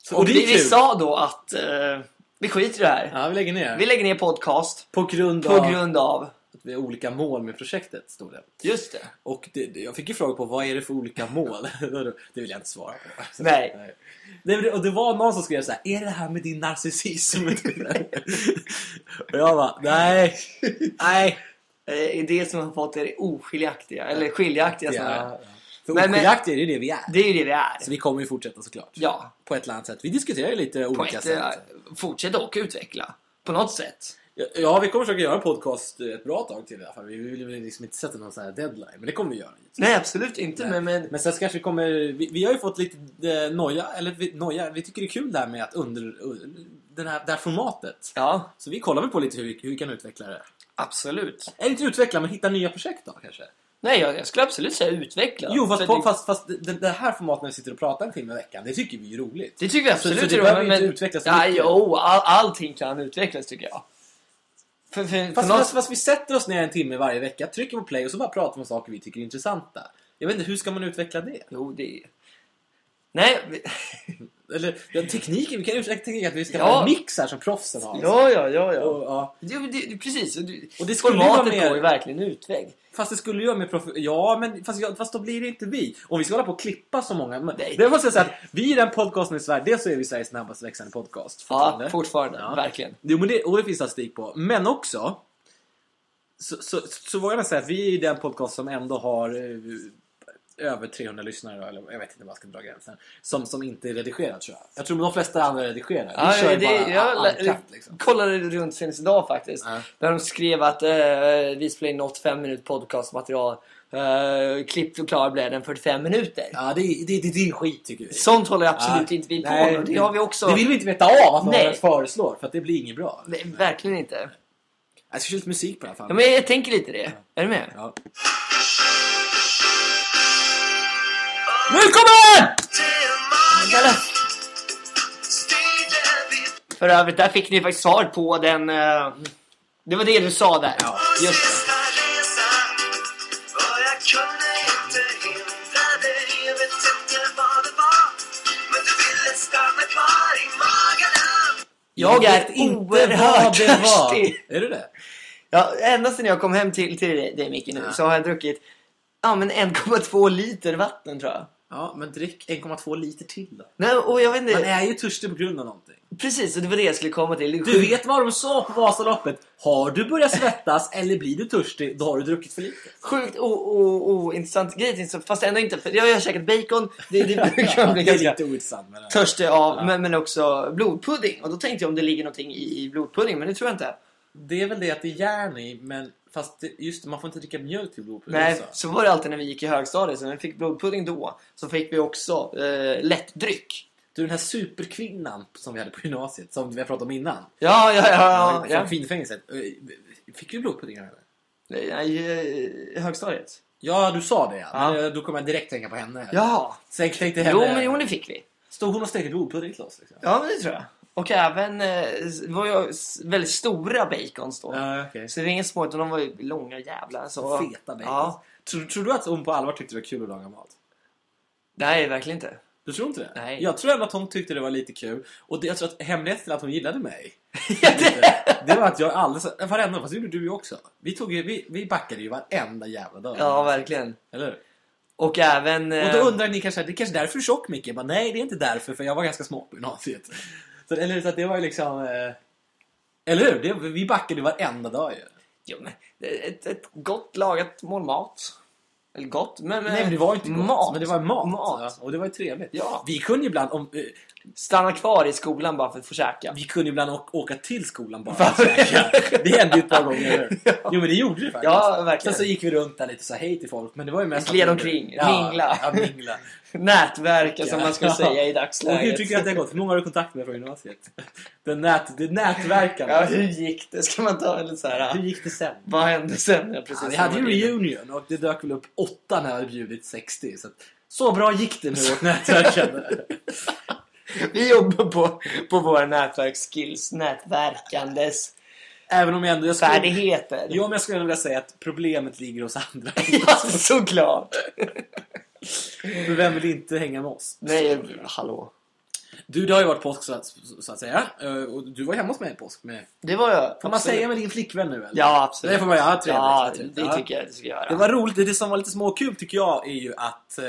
Så,
Och,
och det
vi,
är
vi
kul.
sa då att eh, vi skiter i det här.
Ja, vi lägger ner.
Vi lägger ner podcast
På grund
på
av
grund av...
att vi har olika mål med projektet, stod det.
Just det.
Och det, det- jag fick ju fråga på vad är det för olika mål? det vill jag inte svara på. Så,
Nej.
Nej, men det, och det var någon som skrev så här: är det här med din narcissism? och jag bara, nej, nej.
Eh, det som har fått er osskiljaktiga. Eller skiljaktiga snarare.
Ja, ja. För
Men- men-
oskiljaktiga är det ju det vi är.
Det är ju det vi är.
Så vi kommer ju fortsätta såklart.
Ja.
På ett eller annat sätt. Vi diskuterar ju lite
På
olika
ett,
sätt.
eh, fortsätt och utveckla. På något sätt.
Ja, vi kommer försöka göra en podcast eh, ett bra tag till i alla fall. Vi vill väl liksom inte sätta någon sån här deadline, men det kommer vi göra.
Nej, absolut inte. Men, men,
Men sen kanske vi kommer... Vi, vi har ju fått lite eh, noja, eller vi, noja, vi tycker det är kul det här med att under... un- Den här, det här formatet.
ja,
Så vi kollar väl på lite hur vi, hur vi kan utveckla det.
absolut.
Eller inte utveckla, men hitta nya projekt då kanske?
Nej, jag, jag skulle absolut säga utveckla.
jo, fast,
För
på,
det,
fast, fast det, det här formatet när vi sitter och pratar en timme i veckan, det tycker vi är ju roligt.
det tycker jag absolut
så det
är roligt,
behöver ju inte utvecklas så
ja,
mycket.
Jo, all, allting kan utvecklas tycker jag. För, för,
Fast,
för
fast,
något,
fast vi sätter oss ner en timme varje vecka, trycker på play och så bara pratar vi om saker vi tycker är intressanta. Jag vet inte, hur ska man utveckla det?
Jo, det... Nej, vi-
Eller ja, tekniken, vi kan utveckla tekniken att vi ska
Ja.
ha en mix här som proffsen har.
ja, ja, ja,
Och,
ja.
ja.
Jo, det, det, precis. Och det,
Och det skulle ju
formatet
vara
går ju
mer...
verkligen utväg.
Fast det skulle ju vara mer proff... Ja, men fast, ja, fast då blir det inte vi. Om vi ska hålla på och klippa så många... Men,
Nej.
det måste jag säga att vi är den podcasten i Sverige, dels så är vi Sveriges snabbast växande podcast.
Ja, fortfarande.
Ja.
Verkligen.
Jo, men det, och det finns statistik på. Men också så, så, så vågar man säga att vi är den podcast som ändå har eh, över 300 lyssnare, då, eller jag vet inte var jag ska dra gränsen, som, som inte är redigerad tror jag. Jag tror de flesta andra redigerar. Vi
Ja,
kör ju
det-
bara
jag
un-
lä-
uncut, liksom.
kollade runt senast idag faktiskt.
Ja.
Där de skrev att eh, vi spelar in något fem minut podcastmaterial. Eh, klippt och klar blev den 45 minuter.
Ja, det, är- det, det, det är skit tycker vi.
Sånt håller absolut
Ja,
inte vi på
nej,
med. och Det har vi också.
Det vill vi inte veta av att någon
Nej.
föreslår, för att det blir inget bra.
Nej, verkligen inte.
Jag ska köra lite musik på det här. Fan.
Ja, men jag tänker lite det. Är du med?
Ja. Nu kommer den!
För övrigt, där fick ni faktiskt svar på den... eh, det var det du sa där.
Ja.
Just Jag är
vet inte
oerhört
vad det var.
törstig.
Är du det?
Ja, ända sedan jag kom hem till, till dig, dig Micke nu,
Ja.
så har jag druckit ja, men 1,2 liter vatten tror jag.
Ja, men drick 1,2 liter till då.
Nej, och jag vet inte.
Man är ju törstig på grund av någonting.
Precis, och det var det jag skulle komma till. Det är
eh, Du
sjukt.
vet vad de sa på Vasaloppet. Har du börjat svettas eller blir du törstig, då har du druckit för lite.
Sjukt ointressant grej, så- fast ändå inte. För jag har säkert bacon, det, det kan bli
det är
ganska
lite ointressant med det.
törstig av, men, men också blodpudding. Och då tänkte jag om det ligger någonting i, i blodpudding, men det tror jag inte.
Det är väl det att det är järn i, men fast det, just det, man får inte dricka mjölk till blodpudding.
Nej,
också.
så var det alltid när vi gick i högstadiet. Så när vi fick blodpudding då, så fick vi också eh, lättdryck.
Du, den här superkvinnan som vi hade på gymnasiet, som vi har pratat om innan.
Ja, ja, ja.
från
ja.
kvinnfängelset. Eh, Fick du blodpudding av henne?
Nej, I eh, högstadiet?
Ja, du sa det ja.
Ja.
Men, eh, Då kommer jag direkt tänka på henne.
Ja.
Sen tänkte jag
Jo,
henne...
men jo, det fick vi.
Stod hon och stekte blodpudding till oss? Liksom?
Ja, men det tror jag. Och även eh, var jag s- väldigt stora bacons då.
Ja, okej.
Så det var inget smått, utan de var ju långa jävlar. Så...
Feta bacon.
Ja.
Tror, tror du att hon på allvar tyckte det var kul att laga mat?
Nej, verkligen inte.
Du tror inte det?
Nej.
Jag tror ändå att hon tyckte det var lite kul. Och det, jag tror att hemligheten till att hon gillade mig,
Ja, det...
det var att jag alldeles... Varenda, fast det gjorde du ju också. Vi, tog, ju- vi, vi backade ju varenda jävla dag.
ja, verkligen.
Eller hur?
Och även... eh,
Och då undrar ni kanske, det är kanske därför du är tjock Micke? Jag Bara, nej, det är inte därför, för jag var ganska smal på gymnasiet. Så, eller så att det var ju liksom... Eh, eller hur? Det, vi backade varenda dag ju.
Jo, men, ett, ett gott lagat mål mat. Eller gott, men...
Nej, men det var ju inte gott,
mat.
men det var mat.
Mat.
Ja, och det var ju trevligt.
Ja.
Vi kunde ju ibland, om, eh,
Stanna kvar i skolan bara för att få käka.
vi kunde ju ibland å- åka till skolan bara. och käka. det hände ju ett par gånger. eller hur? Jo, men det gjorde det faktiskt.
Ja, verkligen.
Sen så gick vi runt där lite och sa hej till folk, men det var ju mest...
Gled
att-
omkring,
ja,
mingla.
Ja, mingla.
Nätverka som man skulle
Ja.
säga i
Och
dagsläget.
hur tycker du att det har gått? Hur många har du kontakt med från gymnasiet? Det, nät, det nätverkande.
Ja, hur gick det? Ska man ta lite så här...
Hur
ja.
gick det sen?
Vad hände sen? Ja, precis
Ja, vi hade ju
samma grej.
reunion och det dök väl upp åtta när jag hade bjudit 60. Så, att, så bra gick det med vårt nätverk kände jag.
Vi jobbar på, på våra nätverksskills, nätverkandes
Även om jag ändå... Jag skulle,
färdigheter.
jo, men jag skulle vilja säga att problemet ligger hos andra.
Ja, såklart!
För vem vill inte hänga med oss?
Nej, hallå.
Du, det har ju varit påsk så att, så att säga. Eh, Och du var hemma hos mig i påsk. Med,
Det var jag.
får man
absolut.
säga med din flickvän nu eller?
Ja, absolut.
Det får man göra. Ja, trevligt.
Ja,
vad trevligt.
det
Ja.
tycker jag att du ska göra.
Det var roligt. Det som var lite småkul tycker jag är ju att eh,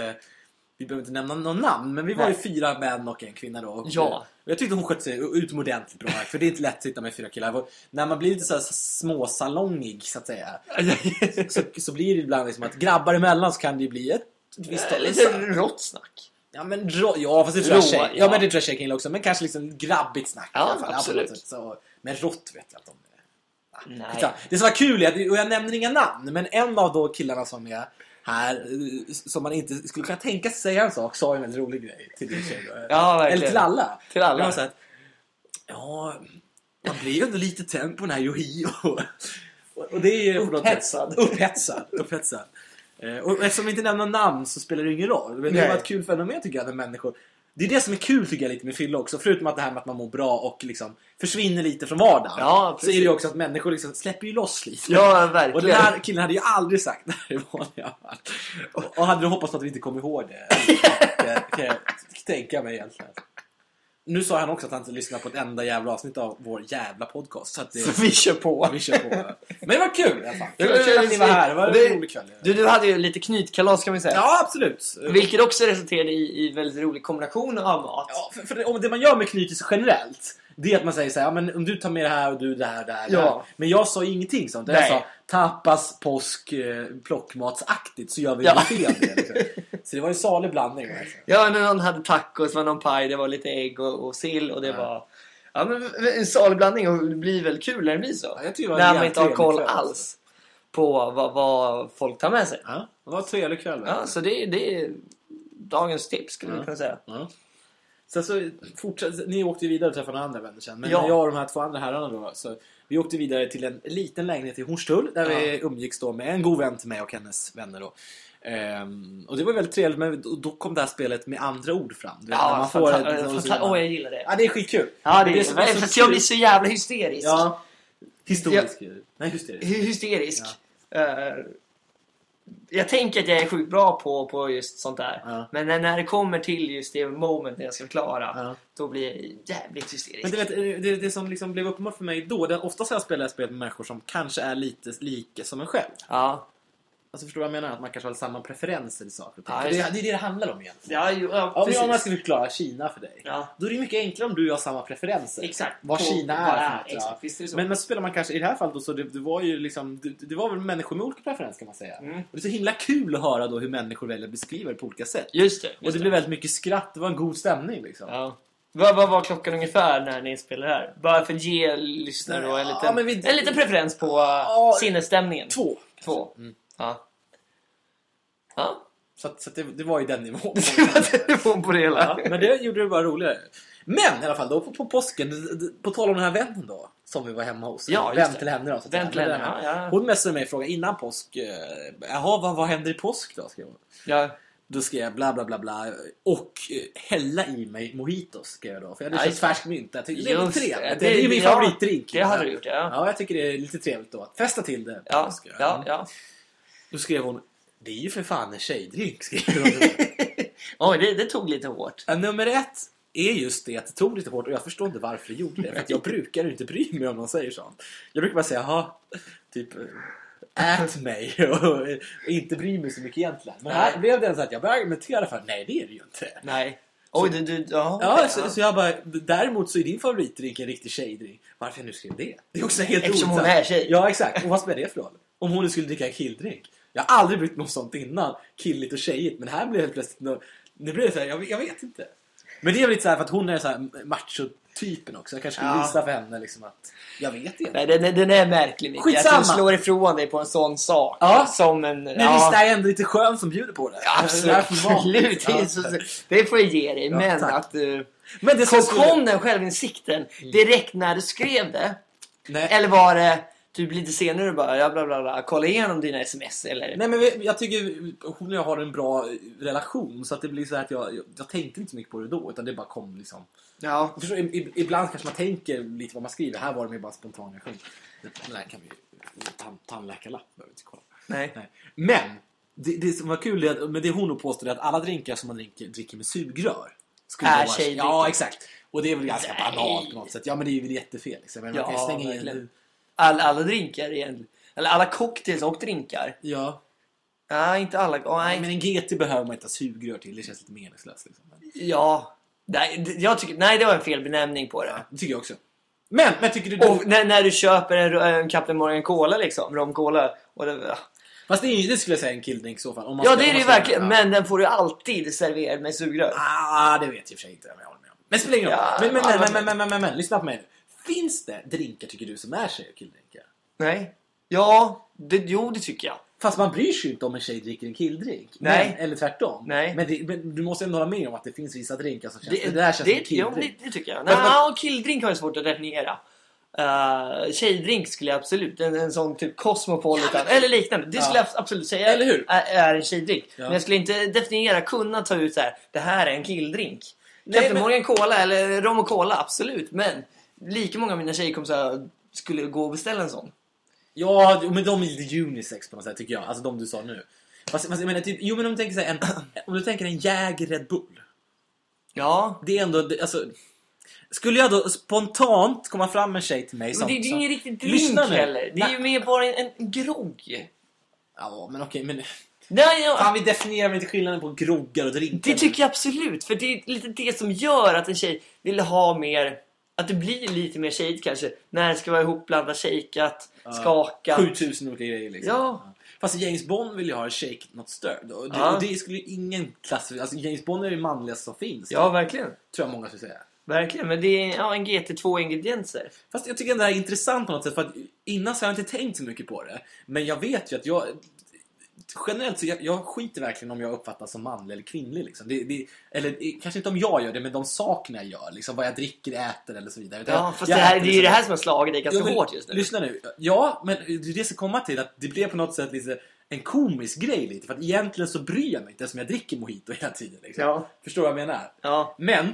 vi behöver inte nämna någon namn, men vi var ju
Nej.
fyra män och en kvinna då. Och
Ja.
och jag tyckte hon skötte sig utomordentligt bra. För det är inte lätt att sitta med fyra killar. Och När man blir lite så här småsalongig så att säga. Så, så blir det ibland liksom att grabbar emellan så kan det ju bli ett visst
Visst, Eh, lite rått snack.
Ja men rå, ja fast det tror jag
Rå,
tjej, ja.
ja.
men det tror jag tjejer kan gilla också. Men kanske liksom grabbigt snack
Ja,
i alla fall.
absolut.
på något sätt. Så, men rått vet jag att de är.
Nej.
Skitsamma. Det som var kul är att, och jag nämner inga namn, men en av då killarna som är här, eh, som man inte skulle kunna tänka sig säga en sak, sa en väldigt rolig grej till din tjej. då.
Ja, verkligen.
Eller till alla.
Till alla.
Det var så att, ja, man blir ju ändå lite tänd på den här Yohio. Och, och det är ju på något sätt-
Upphetsad.
Upphetsad. upphetsad. Eh, Och eftersom vi inte nämner namn så spelar det ju ingen roll. Men det
Nej.
var ett kul fenomen tycker jag när människor det är det som är kul tycker jag lite med fylla också. Förutom att det här med att man mår bra och liksom försvinner lite från vardagen.
Ja,
så är det ju
precis.
också att människor liksom släpper ju loss lite.
Ja,
Och
verkligen.
den här killen hade ju aldrig sagt det här i vanliga fall. Och, och hade du hoppats på att vi inte kom ihåg det. kan jag- kan jag tänka mig egentligen. Nu sa han också att han inte lyssnar på ett enda jävla avsnitt av vår jävla podcast. Så att det,
Vi kör på.
vi kör på. Men det var kul i alla fall.
Det var kul
att ni var här. Det var
Det-
en rolig kväll.
Du, du hade ju lite knytkalas kan man säga.
Ja, absolut.
Vilket också resulterade i, i väldigt rolig kombination av mat.
Ja, för, för det, om det man gör med knytis generellt det är att man säger så här, ja, men om du tar med det här och du det här, det här, det
Ja.
här. Men jag sa ingenting sånt. Jag
Nej.
sa tapas, påsk, eh, plockmatsaktigt så gör vi
Ja.
ja. fel. det, Liksom. Så det var en salig blandning. Alltså.
Ja, när någon hade tacos, det var någon paj, det var lite ägg och, och sill och det
Ja.
var... Ja, men en salig blandning och det blir väl kul när det blir så.
Ja, jag tycker det var en
när man
jävligt
inte har
trevlig
koll
kväll,
alls
alltså.
på vad, vad folk tar med sig.
Ja. Det var en trevlig kväll.
Ja,
verkligen.
så det, det är dagens tips skulle vi kunna säga.
Ja. Sen så fortsatte, ni åkte ju vidare och träffade några andra vänner sen. Men
Ja.
när jag och de här två andra herrarna då, så vi åkte vidare till en liten lägenhet i Hornstull där vi umgicks då med en god vän till mig och hennes vänner då. Ehm, och det var väldigt trevligt, men då- då kom det här spelet med andra ord fram. Du vet, när
Ja,
man får
fanta-
ett- och så-
fanta- Åh, jag gillar det.
Ja, det är skitkul.
Ja, det,
Men
är,
så- så-
för att jag blir så jävla hysterisk.
Ja. Historisk. Nej, hysterisk.
hy- hysterisk. Eh, jag tänker att jag är sjukt bra på, på just sånt där.
Ja.
Men när, när det kommer till just det moment när jag ska förklara,
Ja.
då blir jag jävligt hysterisk.
Men du vet, eh, det, det som liksom blev uppenbart för mig då, det, oftast har jag spelat spel med människor som kanske är lite lika som en själv.
Ja,
Alltså förstår du vad jag menar? Att man kanske har samma preferenser i saker och ting.
Ja,
För det,
just
det är det det handlar om egentligen.
Ja, jo, ja,
Om
precis.
jag om jag ska förklara Kina för dig.
Ja.
Då är det mycket enklare om du och jag har samma preferenser.
Exakt.
Vad
På-
Kina
vad det
är. för
är,
något, ja.
exakt. Visst är det så.
Men, men så spelar man kanske i det här fallet då, så det, det var ju liksom, det, det var väl människor med olika preferenser kan man säga.
Mm.
Och det är så himla kul att höra då hur människor väljer att beskriva det på olika sätt.
Just det. Just
Och det blev väldigt mycket skratt, det var en god stämning liksom.
Ja. Vad, vad var klockan ungefär när ni spelade här? Bara för att ge lyssnare då en
Ja,
liten,
men vi-
en liten preferens på
Ja.
uh, sinnesstämningen.
Två. Mm.
Två. Ja. Ja.
Så, att, så att det, det var ju den nivån.
Telefon på det
Ja,
hela.
men det gjorde det bara roligare. Men i alla fall, då på, på påsken, d- d- på tal om den här vännen då, som vi var hemma hos.
Ja, just
vän
det.
till henne då. så att
Vän till
säga.
henne, ja, ja.
Hon messade mig och frågade innan påsk, eh, jaha vad, vad händer i påsk då? Skrev hon.
Ja.
Då skrev jag bla bla bla bla och eh, hälla i mig mojitos skrev jag då. För jag hade
Ja,
köpt
just det.
färsk mynta. Jag tyckte det var
Just
trevligt. Det,
det.
det är ju min
Ja,
favoritdrink.
det hade
liksom.
du gjort, ja.
Ja, jag tycker det är lite trevligt då. Att festa till det. på
Ja.
påsk,
Ja. ja.
Då skrev hon, det är ju för fan en tjejdrink. Skrev hon då.
Oj, det, det tog lite hårt.
Ja, Nummer ett är just det att det tog lite hårt och jag förstår inte varför det gjorde det. För att jag brukar inte bry mig om någon säger sånt. Jag brukar bara säga, jaha, typ eh, ät mig och, och inte bry mig så mycket egentligen. Men här
Nej.
blev det så att jag började argumentera för, nej det är det ju inte.
Nej. Oj, du... du ja,
Ja,
okej,
så, så jag bara, däremot så är din favoritdrink en riktig tjejdrink. Varför jag nu skrev det? Det är också helt
Eftersom hon
ointressant.
är tjej.
Ja, exakt. Och vad spelar det för roll? Om hon nu skulle dricka en killdrink. Jag har aldrig brytt mig om sånt innan. Killigt och tjejigt. Men här blev det plötsligt nå- Nu blev det så här, jag, vet- jag vet inte. Men det är väl lite så här för att hon är så här machotypen också. Jag kanske skulle
Ja.
visa för henne liksom att jag vet inte.
Nej, den, den är märklig Micke.
Skitsamma.
Att du slår ifrån dig på en sån sak.
Ja.
Som en...
Men visst är jag ändå lite skön som bjuder på det. Det är därför vanligt.
Absolut. Det, är så, det får jag ge dig.
Ja,
men
tack.
att du...
Men det som
Kom,
skulle... Mm.
kom den självinsikten direkt när du skrev det?
Nej.
Eller var det typ lite senare du bara ja, bla bla bla, kolla igenom dina sms eller?
Nej men vi- jag tycker hon och jag har en bra relation så att det blir så här att jag, jag, jag tänkte inte så mycket på det då utan det bara kom liksom.
Ja.
Förstår, i- i- ibland kanske man tänker lite vad man skriver. Här var det mer bara spontan reaktion. Den där kan vi ju... Tan, tandläkarlapp behöver vi inte kolla.
Nej.
Nej. Men! Det, det som var kul är att, men det hon nog påstod är att alla drinkar som man dricker, dricker med sugrör. skulle
Är
vara-
tjejdrinkar.
Ja exakt. Och det är väl ganska
Nej.
banalt på något sätt. Ja men det är ju jättefel. Liksom. Men Man kan ju
Ja,
slänga in...
verkligen. All, alla drinkar igen. Eller alla cocktails och drinkar.
Ja.
Nej, inte alla. Oh, nej.
Men en GT behöver man inte ha sugrör till. Det känns lite meningslöst. Liksom. Men-
Ja. Nej, det- jag tycker, nej, det var en felbenämning på det.
Det tycker jag också. Men, men tycker du...
Och när, när du köper en, en Captain Morgan Cola liksom, Rom Cola. Och det,
Fast det, är, ju- det skulle jag säga en killdrink i så fall. Om man
ja,
ska-
det är
om
det
man
ju
ska-
verkligen.
ja.
Men den får du alltid serverad med sugrör.
Ah, det vet jag i och för sig inte. Men jag håller med om. Men spelar ingen roll.
Ja,
men, men,
alla-
men, men, men, men, men, men, lyssna på mig nu. Finns det drinkar tycker du som är tjej och killdrinkar?
Nej. Ja, det, jo det tycker jag.
Fast man bryr sig ju inte om en tjej dricker en killdrink.
Nej.
Men, eller tvärtom.
Nej.
Men, det, men du måste ändå hålla med om att det finns vissa drinkar som känns...
Det,
Det, där känns som en
det, jo,
killdrink.
det, det tycker jag.
Men-
Nej, och killdrink har jag svårt att definiera. Uh, tjejdrink skulle jag absolut, en, en sån typ Cosmopolitan eller liknande. Det skulle
Ja.
jag absolut säga
Eller hur?
Är, är en tjejdrink.
Ja.
Men jag skulle inte definiera, kunna ta ut så här. det här är en killdrink. Captain
men-
Morgan Cola eller Rom och Cola, absolut. Men lika många av mina tjejkompisar skulle gå och beställa en sån.
Ja, jo, men de är lite unisex på något sätt tycker jag. Alltså de du sa nu. Fast, fast jag menar typ... Jo men om du tänker så här, en, om du tänker en Jäger Red Bull.
Ja.
Det är ändå, det- alltså, skulle jag då spontant komma fram en tjej till mig
Men
som...
det, det är ju
som-
ingen riktig drink
Lyssna nu.
heller. Det är
Nej.
ju mer bara en, en grogg.
Ja, men okej, men...
Nej, jag-
Fan, vi definierar väl inte skillnaden på groggar och drinkar?
Det tycker jag absolut, för det är lite det som gör att en tjej vill ha mer att det blir lite mer tjejigt kanske när det ska vara ihopblandat, shakeat, skakat.
7000 olika grejer liksom.
Ja.
Fast James Bond vill ju ha shake not stirred. Och det,
Ja.
och det skulle ju ingen klass... Alltså James Bond är det manligaste som finns.
Ja, verkligen.
Tror jag många skulle säga.
Verkligen, men det är ja, en GT2 ingredienser.
Fast jag tycker ändå det här är intressant på något sätt för att innan så har jag inte tänkt så mycket på det. Men jag vet ju att jag... Generellt så jag, jag skiter verkligen om jag uppfattas som manlig eller kvinnlig. Liksom. Det, det, eller eh, kanske inte om jag gör det, men de sakerna jag gör. Liksom, vad jag dricker, äter eller så vidare. Utan
Ja,
jag,
fast
jag
det, här,
äter
det är ju det
liksom-
här som har slagit dig ganska
Ja, men
hårt just nu.
Lyssna nu. Ja, men det är det som komma till att det blev på något sätt lite en komisk grej lite. För att egentligen så bryr jag mig inte eftersom jag dricker mojito hela tiden. Liksom.
Ja.
Förstår du vad jag menar?
Ja.
Men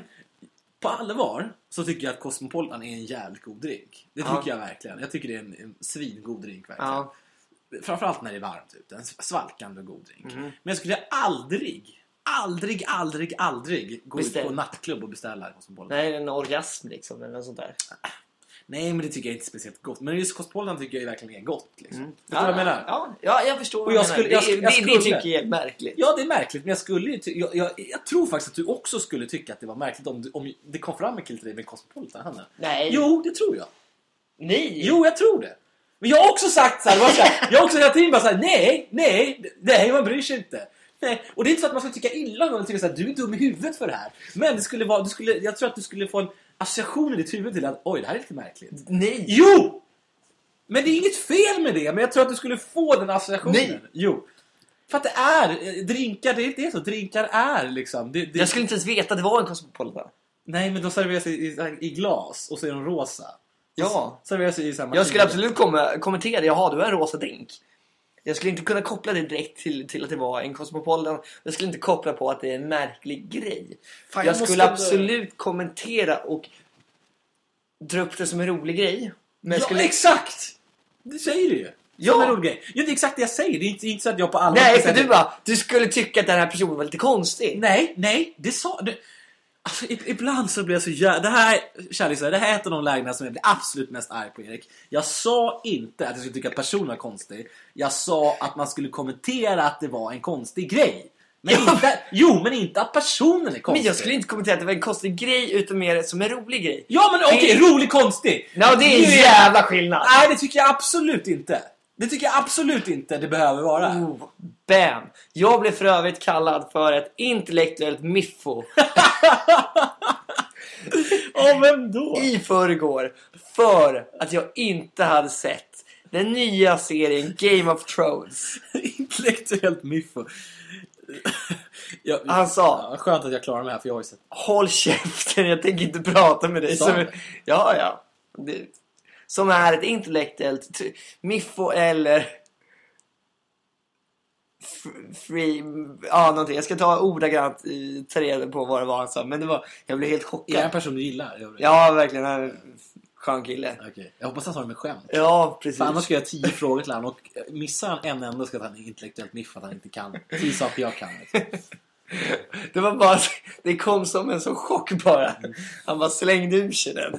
på allvar så tycker jag att Cosmopolitan är en jävligt god drink. Det tycker
Ja.
jag verkligen. Jag tycker det är en, en svingod drink verkligen.
Ja. Mhm.
Framförallt när det är varmt ute. En svalkande och god drink. Men jag skulle aldrig, aldrig, aldrig, aldrig gå
Beställ.
ut på en nattklubb och beställa en Cosmopolitan.
Nej, en orgasm liksom eller något sånt där.
Nej, men det tycker jag inte är speciellt gott. Men just Cosmopolitan tycker jag verkligen är gott. Liksom.
Mm.
Förstår du vad jag menar?
Ja, ja, jag förstår
Och
vad
jag
jag
skulle-
menar.
jag
Det,
skulle- jag
det, det
skulle-
tycker jag är märkligt.
Ja, det är märkligt, men jag skulle ju ty- jag, jag, jag tror faktiskt att du också skulle tycka att det var märkligt om, du, om det kom fram en kille till dig med Cosmopolitan, Hanna.
Nej.
Jo, det tror jag.
Nej.
Jo, jag tror det. Men jag har också sagt så här, bara så här jag har också hela tiden bara så här, nej, nej, nej, man bryr sig inte. Nej. Och det är inte så att man ska tycka illa om någon och tycka så här, du är dum i huvudet för det här. Men det skulle vara, du skulle, jag tror att du skulle få en association i ditt huvud till att oj, det här är lite märkligt.
Nej.
Jo! Men det är inget fel med det, men jag tror att du skulle få den associationen.
Nej.
Jo. För att det är, eh, drinkar, det är det är så, drinkar är liksom. Det, det,
Jag skulle inte ens veta att det var en Cosmopolitan.
Nej, men de serveras i, i, i glas och så är de rosa.
Ja.
Serveras i samma
Jag skulle absolut komma, kommentera, jaha du har en rosa drink. Jag skulle inte kunna koppla det direkt till, till att det var en Cosmopolitan. Jag skulle inte koppla på att det är en märklig grej.
Fan,
jag
jag måste
skulle
ändå-
absolut kommentera och dra upp det som en rolig grej. Men jag
Ja,
skulle...
exakt! Det säger du ju.
Ja.
Som en rolig grej. Ja, det är exakt det jag säger. Det är inte, det är inte så att jag på alla
Nej, för du bara, du skulle tycka att den här personen var lite konstig.
Nej, nej, det sa du. Alltså, i- ibland så blir jag så jävla... Det här, kärleksar, det här är ett av de lägena som jag blir absolut mest arg på, Erik. Jag sa inte att jag skulle tycka att personen var konstig. Jag sa att man skulle kommentera att det var en konstig grej. Men
Ja.
inte, jo, men inte att personen är konstig.
Men jag skulle inte kommentera att det var en konstig grej utan mer som en rolig grej.
Ja, men okej,
Det-
rolig konstig.
Ja, det är
Nu
en jävla skillnad.
Nej, det tycker jag absolut inte. Det tycker jag absolut inte det behöver vara.
Oh, bam! Jag blev för övrigt kallad för ett intellektuellt miffo
Ja, vem då?
i förrgår för att jag inte hade sett den nya serien Game of Thrones.
Intellektuellt miffo. jag,
Han sa
ja, skönt att jag klarar mig här för jag har ju sett.
Håll käften, jag tänker inte prata med dig.
Sa
Som,
han det?
ja, ja. Det, som är ett intellektuellt tr- miffo eller f- free... Ja, någonting. Jag ska ta ordagrant, eh, ta reda på vad det var han sa. Men det var, jag blev helt chockad.
Är det en person du gillar? Jag-
Ja, verkligen. Han är en skön kille.
Okej. Jag hoppas han sa det med skämt.
Ja, precis.
För annars ska jag ha tio frågor till honom och eh, missar han en enda ska han är intellektuellt miffo att han inte kan. Tio saker jag kan. Liksom.
Det var bara... Det kom som en sån chock bara. Han bara slängde ur sig den.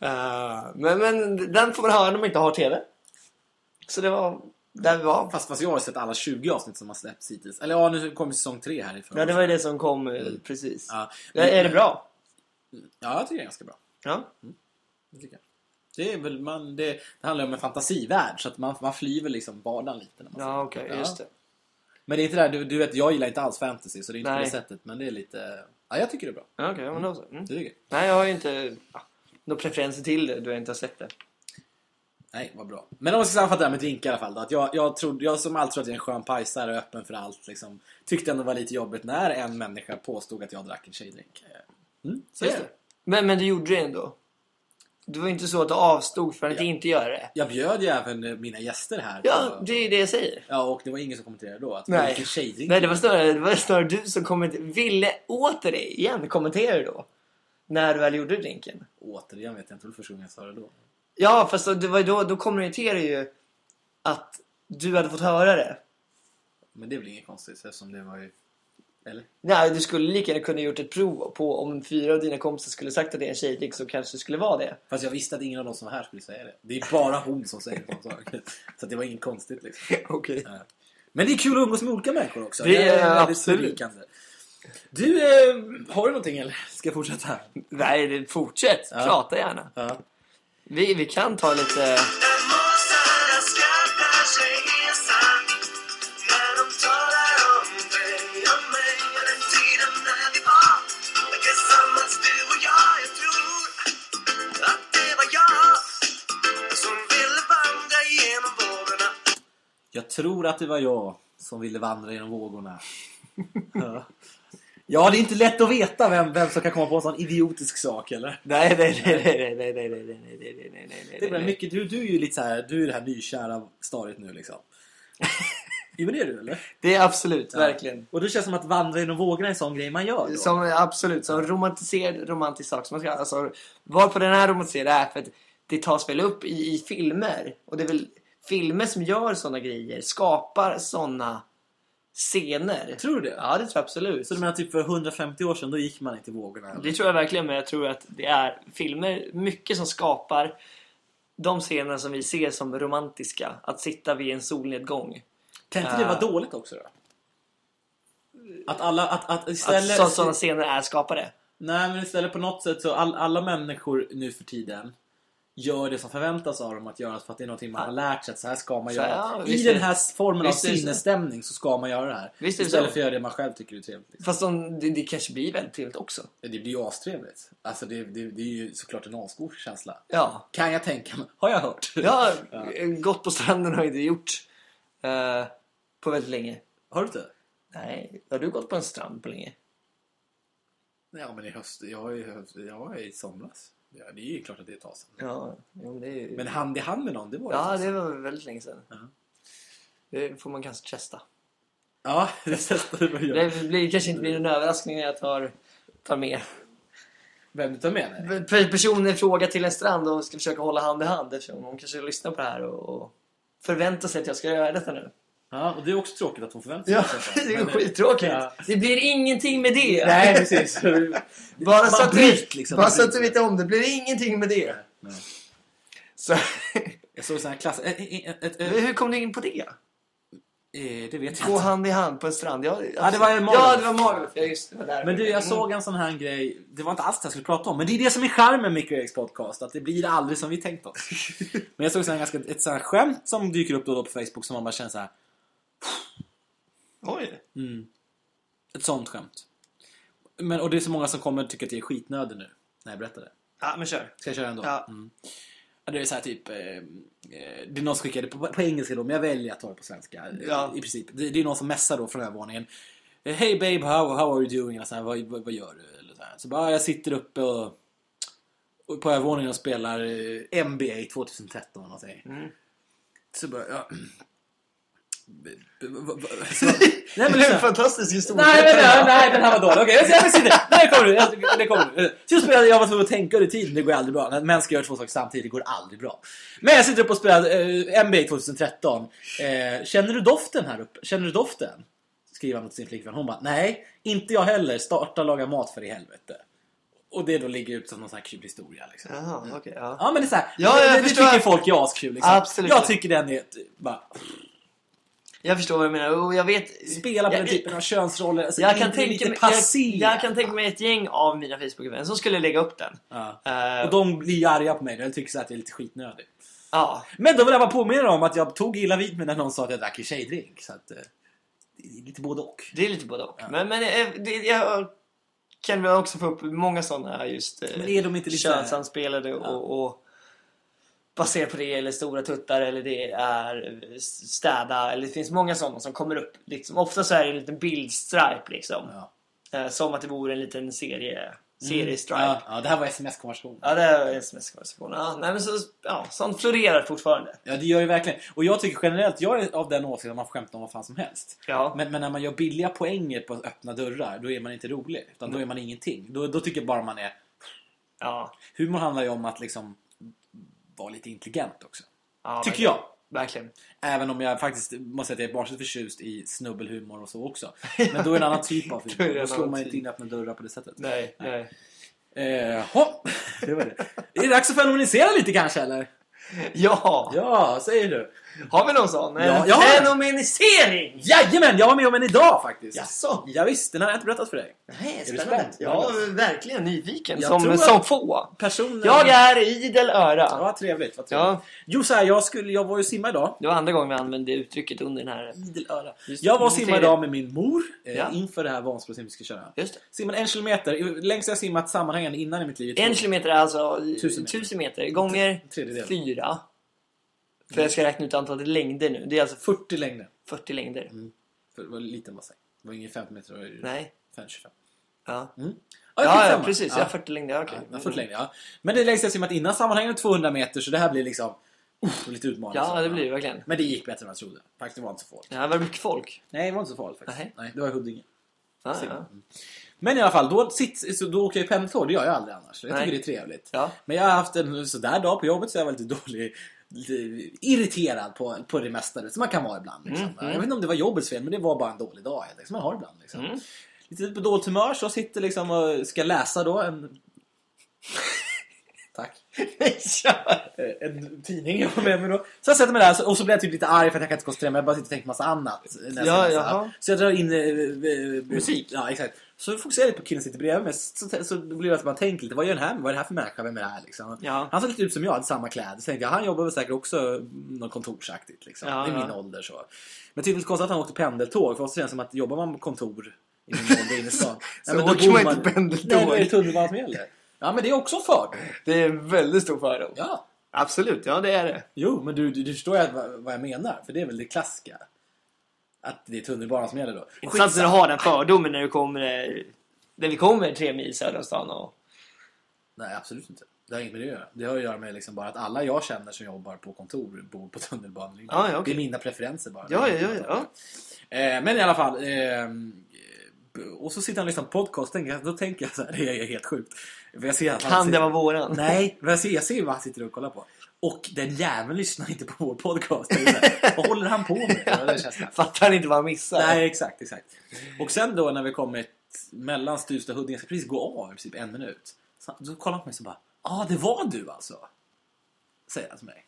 Eh, men, men den får man höra när man inte har TV. Så det var där vi var.
Fast, fast jag har sett alla 20 avsnitt som har släppts hittills. Eller ja, nu kommer säsong 3 här i förra.
Ja, det var ju det som kom eh, precis.
ja.
Ja, är det bra?
Ja, jag tycker det är ganska bra.
Ja.
Det tycker jag. Det, är väl, man, det, det handlar om en fantasivärld så att man, man flyr väl liksom vardagen lite. När man
Ja, okej.
Ja.
Just det.
Men det är inte det här, du, du vet, jag gillar inte alls fantasy så det är inte på
Nej.
det sättet. Men det är lite... Ja, jag tycker det är bra.
Ja, Okej, men då så. Mm.
Det tycker jag.
Nej, jag har ju inte... ja, Några preferenser till det. Du har inte har sett det.
Nej, vad bra. Men om man ska sammanfatta det här med drinkar i alla fall då, att jag, jag, trodde, jag som alltid tror att jag är en skön pajsare och öppen för allt liksom, tyckte ändå det var lite jobbigt när en människa påstod att jag drack en tjejdrink. Mm, så
Just
är
det.
det.
Men, men du gjorde det ändå. Det var inte så att du avstod från att inte göra det.
Jag bjöd ju även eh, mina gäster här.
Ja,
på-
det är ju det jag säger.
ja, och det var ingen som kommenterade då att
Nej.
vilken tjejdrink.
Nej, det var snarare, det var snarare du som kommenter- ville åter dig igen kommentera då. När du väl gjorde drinken.
Återigen vet jag inte, det var första gången jag sa det då.
Ja, fast då- det var ju då, då kommenterade ju att du hade fått höra det.
Men det är väl inget konstigt eftersom det var ju... Eller?
Nej, du skulle lika gärna kunna gjort ett prov på om fyra av dina kompisar skulle sagt att det är en tjejdrink så kanske det skulle vara det.
Fast jag visste att ingen av de som var här skulle säga det. Det är bara hon som säger sådana saker. Så att det var inget konstigt liksom.
Okej.
Ja. Men det är kul att umgås med olika människor också.
Det
väldigt
är absolut.
berikande. Du, eh, har du någonting eller? Ska jag fortsätta?
Nej, det- fortsätt.
Ja.
Prata gärna.
Ja.
Vi, vi kan ta lite...
Jag tror att det var jag som ville vandra genom vågorna. ja. ja, det är inte lätt att veta vem, vem som kan komma på en sån idiotisk sak eller?
Nej, nej, nej, nej, nej, nej, nej, nej, nej, nej, nej, nej, nej,
Det är
nej,
väl
nej.
mycket, du, du är ju lite så här, du är det här nykära stadiet nu liksom. Jo men det är du eller?
Det är absolut, verkligen.
Och det känns det som att vandra genom vågorna är en sån grej man gör då.
Som, absolut, som romantiserad romantisk sak. Som man ska, alltså, varför den är romantiserad är för att det tas väl upp i, i filmer. Och det är väl filmer som gör sådana grejer, skapar sådana scener.
Tror du det?
Ja, det tror jag absolut.
Så du menar typ för 150 år sedan, då gick man inte i vågorna? eller?
Det tror jag verkligen, men jag tror att det är filmer, mycket som skapar de scener som vi ser som romantiska. Att sitta vid en solnedgång.
Kan inte det vara dåligt också då? Att alla, att, att
Att
istället...
så, sådana scener är skapade.
Nej men istället på något sätt så all, alla människor nu för tiden gör det som förväntas av dem att göra för att det är någonting man har lärt sig att så här ska man
Så,
göra.
ja,
I
visst är-
den här formen av
visst är det så.
sinnesstämning så ska man göra det här.
Visst är det
istället
så.
för att göra det man själv tycker är trevligt. Liksom.
Fast de, det, det kanske blir väldigt trevligt också.
Det blir ju astrevligt. Alltså det, det, det är ju såklart en asgod känsla.
Ja.
Kan jag tänka mig. Har jag hört.
Jag har eh, gått på stranden har jag inte gjort eh, på väldigt länge.
Har du inte?
Nej, har du gått på en strand på länge?
Ja men i höst. Jag har ju höst, jag har ju i somras. Ja, det är ju klart att det är ett tag sedan.
Ja, jo, men det är ju...
Men hand i hand med någon, det var det.
Ja, det var väldigt länge sedan.
Ja.
Det får man kanske testa.
ja, det testade du att göra.
Det blir, kanske inte blir en överraskning när jag tar, tar med
Vem du tar med dig?
Pe- personen i fråga till en strand och ska försöka hålla hand i hand eftersom hon kanske lyssnar på det här och, och förväntar sig att jag ska göra detta nu.
Ja, och det är också tråkigt att hon förväntar sig
Ja,
detta.
det är ju
Men, eh,
skittråkigt.
Ja.
Det blir ingenting med det.
Nej, precis.
bara så
man
att, du,
bryter liksom.
bara
Man
så att du
bryter.
vet om det. Det blir ingenting med det.
Nej.
Så,
Jag såg sån här klass... Ett, ett, ett, ett,
hur kom du in på det?
eh, det vet jag
Gå
inte.
hand i hand på en strand. Jag,
Ja, det var en Magaluf.
Ja, det var Magaluf. Ja, just det. det var där.
Men du, jag såg en sån här grej. Det var inte alls det jag skulle prata om. Men det är det som är charmen med Micro Eriks podcast. Att det blir aldrig som vi tänkt oss. men jag såg sån här ganska, ett sån här skämt som dyker upp då och då på Facebook som man bara känner så här.
Oj.
Mm. Ett sånt skämt. Men, och det är så många som kommer att tycka att jag är skitnödig nu. När jag berättar det.
Ja, men kör.
Ska jag köra ändå?
Ja.
Mm. Ja, Det är så här typ... eh, eh, Det är någon som skickar det på, på engelska då, men jag väljer att ta det på svenska. eh,
Ja.
I princip. Det, det är någon som messar då från övervåningen. Eh, Hey babe, how, how are you doing? Eller så här, vad, vad, vad gör du? Eller så, här. så bara, "Ah, jag sitter uppe och, och på övervåningen och spelar eh, NBA 2013 eller någonting.
Mm.
Så bara, ja... B- b- b- b- så-
Det
Nej men
är en
lyssna.
fantastisk historia.
Nej, men, nej, nej, den här var dålig. Okej, jag ska sitta. Nej, kommer du. Jag- Det kommer du. Så jag, spelade, jag var tvungen att tänka under tiden. Det går aldrig bra. När män ska göra två saker samtidigt, det går aldrig bra. Men jag sitter uppe och spelar eh, NBA 2013. Eh, känner du doften här uppe? Känner du doften? Skriver han till sin flickvän. Hon bara, nej, inte jag heller. Starta laga mat för i helvete. Och det då ligger ut som någon sån här kul historia. Liksom.
Jaha, okej. ja.
Ja men det är såhär,
Ja, jag
det, det
förstår.
tycker folk är askul liksom.
Absolut.
Jag tycker den är, ett- bara,
Jag förstår vad du menar. Och jag vet...
spela på
jag,
den typen av könsroller. Alltså,
Jag kan,
inte
tänka
lite
mig, jag,
passé.
jag kan tänka mig ett gäng av mina Facebook-vänner som skulle lägga upp den.
Ja.
Eh,
Och de blir arga på mig. De tycker så att jag är lite skitnödig.
ja.
Men då vill jag bara påminna om att jag tog illa vid mig när någon sa att jag drack en tjejdrink. Så att, eh, det är lite både och.
Det är lite både och.
Ja.
Men, men eh, det, jag kan väl också få upp många sådana just eh,
Men är de inte lite...
könsanspelade och, och baserat på det eller stora tuttar eller det är eh, städa eller det finns många sådana som kommer upp. Liksom. Ofta så är det en liten bildstripe liksom.
Ja. Mm.
Eh, som att det vore en liten serie, seriestripe.
Ja, ja, det här var sms-konversation.
Ja, det är sms-konversation. Ja, nej, men så, ja, sånt florerar fortfarande.
Ja, det gör ju verkligen. Och jag tycker generellt, jag är av den åsikten att man får skämta om vad fan som helst.
Ja.
Men, men när man gör billiga poänger på öppna dörrar, då är man inte rolig. Utan då är man ingenting. Då, då tycker jag bara man är...
ja,
Humor handlar ju om att liksom vara lite intelligent också.
ja
tycker
verkligen.
jag.
Verkligen.
Även om jag faktiskt måste säga att jag är barnsligt förtjust i snubbelhumor och så också. Men då är det en annan typ av
Då är
humor.
det
Då
en
slår
annan
man inte
typ.
in öppna dörrar på det sättet.
Nej, nej.
Eh, hopp. det var det. Är det dags att fenomenisera lite kanske eller?
Ja.
Ja, säger du.
Har vi någon sån? En
Ja, jag har en.
fenomenisering!
Jajamän, jag var med om en idag faktiskt.
Jaså?
Ja, visst, den har jag inte berättat för dig.
Nej,
Är du
spännande.
spänd?
Ja, verkligen nyfiken.
Jag
Som,
tror att-
som få.
Personen...
Jag är idel öra.
Ja, trevligt. Vad trevligt.
Ja,
Jo, så här, jag, skulle, jag var ju och simma idag.
det var andra gången vi använde uttrycket under den här...
Idel öra.
Just det.
Jag var och
Mm,
simmade
säg det.
idag med min mor eh,
Ja.
inför det här vansinniga vi ska köra.
Just det.
Simmade en kilometer. Längst jag simmat sammanhängande innan i mitt liv.
En kilometer är alltså
Tusen
tusen
meter.
meter, meter gånger
Tredjedel.
fyra. För jag ska räkna ut antalet längder nu. Det är alltså
40 längden.
40 längder.
Mm. För det var en liten bassäng. Det var ingen 50 meter, det var ju
Nej.
5, 25.
Ja.
Mm.
Ja, ja
skitsamma.
precis. Jag
Ja.
har 40 längder. Okej.
Ja, 40 längre, ja. Men det längsta jag simmat innan sammanhängande 200 meter så det här blir liksom uff, lite utmanande.
Ja, det blir det verkligen.
Men det gick bättre än jag trodde. Faktiskt det var inte så farligt.
Det här var mycket folk.
Nej, det var inte så farligt faktiskt.
Nej.
Nej, det var i Huddinge.
Ja,
Simma.
ja.
Men i alla fall, då, sitt, så då åker jag ju pendeltåg. Det gör jag aldrig annars. Jag
Nej.
tycker det är trevligt.
ja.
Men jag har haft en sådär dag på jobbet så jag var lite dålig, lite irriterad på, på det mesta som man kan vara ibland. Liksom.
Mm, mm.
Jag vet inte om det var jobbets fel, men det var bara en dålig dag liksom, man har ibland. Liksom.
Mm.
Lite på dåligt humör så sitter liksom och ska läsa då en... Tack.
Kör!
Eh, en tidning jag har med mig då. Så jag sätter mig där så- och så blir jag typ lite arg för att jag kan inte koncentrera mig. Jag bara sitter och tänker massa annat. när jag
Ja,
ska läsa.
jaha.
Så jag drar in eh, eh, eh,
Musik.
Ja, exakt. Så fokuserar jag lite på killen som sitter bredvid mig. Så, så, så blir det att man tänker lite, vad gör den här? Vad är det här för människa? Vem är det här liksom?
Ja.
Han såg lite ut som jag, hade samma kläder. Så tänkte jag, han jobbar väl säkert också något kontorsaktigt liksom.
Ja,
I
ja.
min ålder så. Men tydligen konstigt att han åkte pendeltåg. För oss känns det som att jobbar man på kontor i min ålder inne i stan.
Så
men då
åker
bor
man inte pendeltåg.
Nej, då är det tunnelbanan som gäller. Ja, men det är också en fördel.
Det är en väldigt stor fördel.
Ja.
Absolut, ja det är det.
Jo, men du, du, du förstår ju vad, vad jag menar. För det är väl det klassiska. Att det är tunnelbanan som gäller då.
Intressant när du har den fördomen när du kommer eh, när vi kommer tre mil söder om stan och...
Nej, absolut inte. Det har inget med det att göra. Det har att göra med liksom bara att alla jag känner som jobbar på kontor bor på tunnelbanan.
Ah, Ja, ja, okej.
Det är mina preferenser bara.
Ja, ja, ja, ja.
Eh, men i alla fall. ehm, Eh, och så sitter han och lyssnar på podcast. Tänker, jag- då tänker jag så här, det är helt sjukt. För jag ser att han
Kan det
sitter-
vara våran?
Nej, men jag ser, jag ser vad han sitter och kollar på. Och den jäveln lyssnar inte på vår podcast. Det är så här, Vad håller han på med? Ja, det känns-
Fattar ni inte vad han missar?
Nej, exakt, exakt. Och sen då när vi kommit mellan Stuvsta och Huddinge, jag ska precis gå av i princip en minut. Så, så kollar han på mig och så bara, ja ah, det var du alltså. Säger han till mig.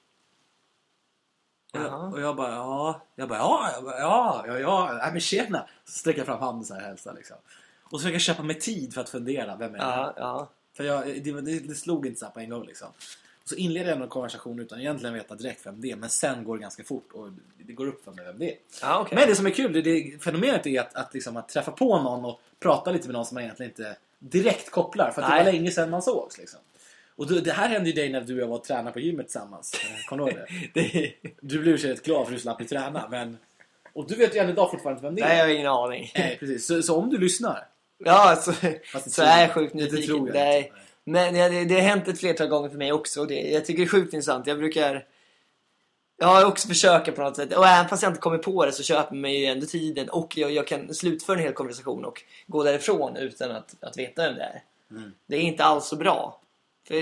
Och
Jaha.
jag, och jag bara, ja, jag bara, ja, jag bara, ja, ja, ja, ja, men tjena. Så sträcker jag fram handen så här och hälsar liksom. Och så försöker jag köpa mig tid för att fundera, vem är det här?
Ja, ja.
För jag, det, var- det, det slog inte så här på en gång liksom. Och så inleder jag en konversation utan egentligen veta direkt vem det är, men sen går det ganska fort och det går upp för mig vem det är.
ja okej.
Men det som är kul, det, det, fenomenet är att, att, liksom, att träffa på någon och prata lite med någon som man egentligen inte direkt kopplar. För att det
Nej.
var länge sedan man sågs. Liksom. Och du, det här hände ju dig när du och jag var och tränade på gymmet tillsammans. Eh, Kommer du ihåg det?
Det-
Du blev i och för sig rätt glad för du slapp ju träna. Men... Och du vet ju än idag fortfarande inte vem det är.
Nej, jag har ingen aning.
Nej, precis. Så, så om du lyssnar.
Ja, så,
det
så
tror
är
jag
jag sjukt
inte. Det
nyfiken.
tror jag
Nej.
inte. Nej.
Men ja, det, det har hänt ett flertal gånger för mig också. Och det, jag tycker det är sjukt intressant. Jag brukar... Jag har också försöker på något sätt. Och även fast jag inte kommer på det så köper man ju ändå tiden. Och jag, jag kan slutföra en hel konversation och gå därifrån utan att, att veta vem det är. Det är inte alls så bra. För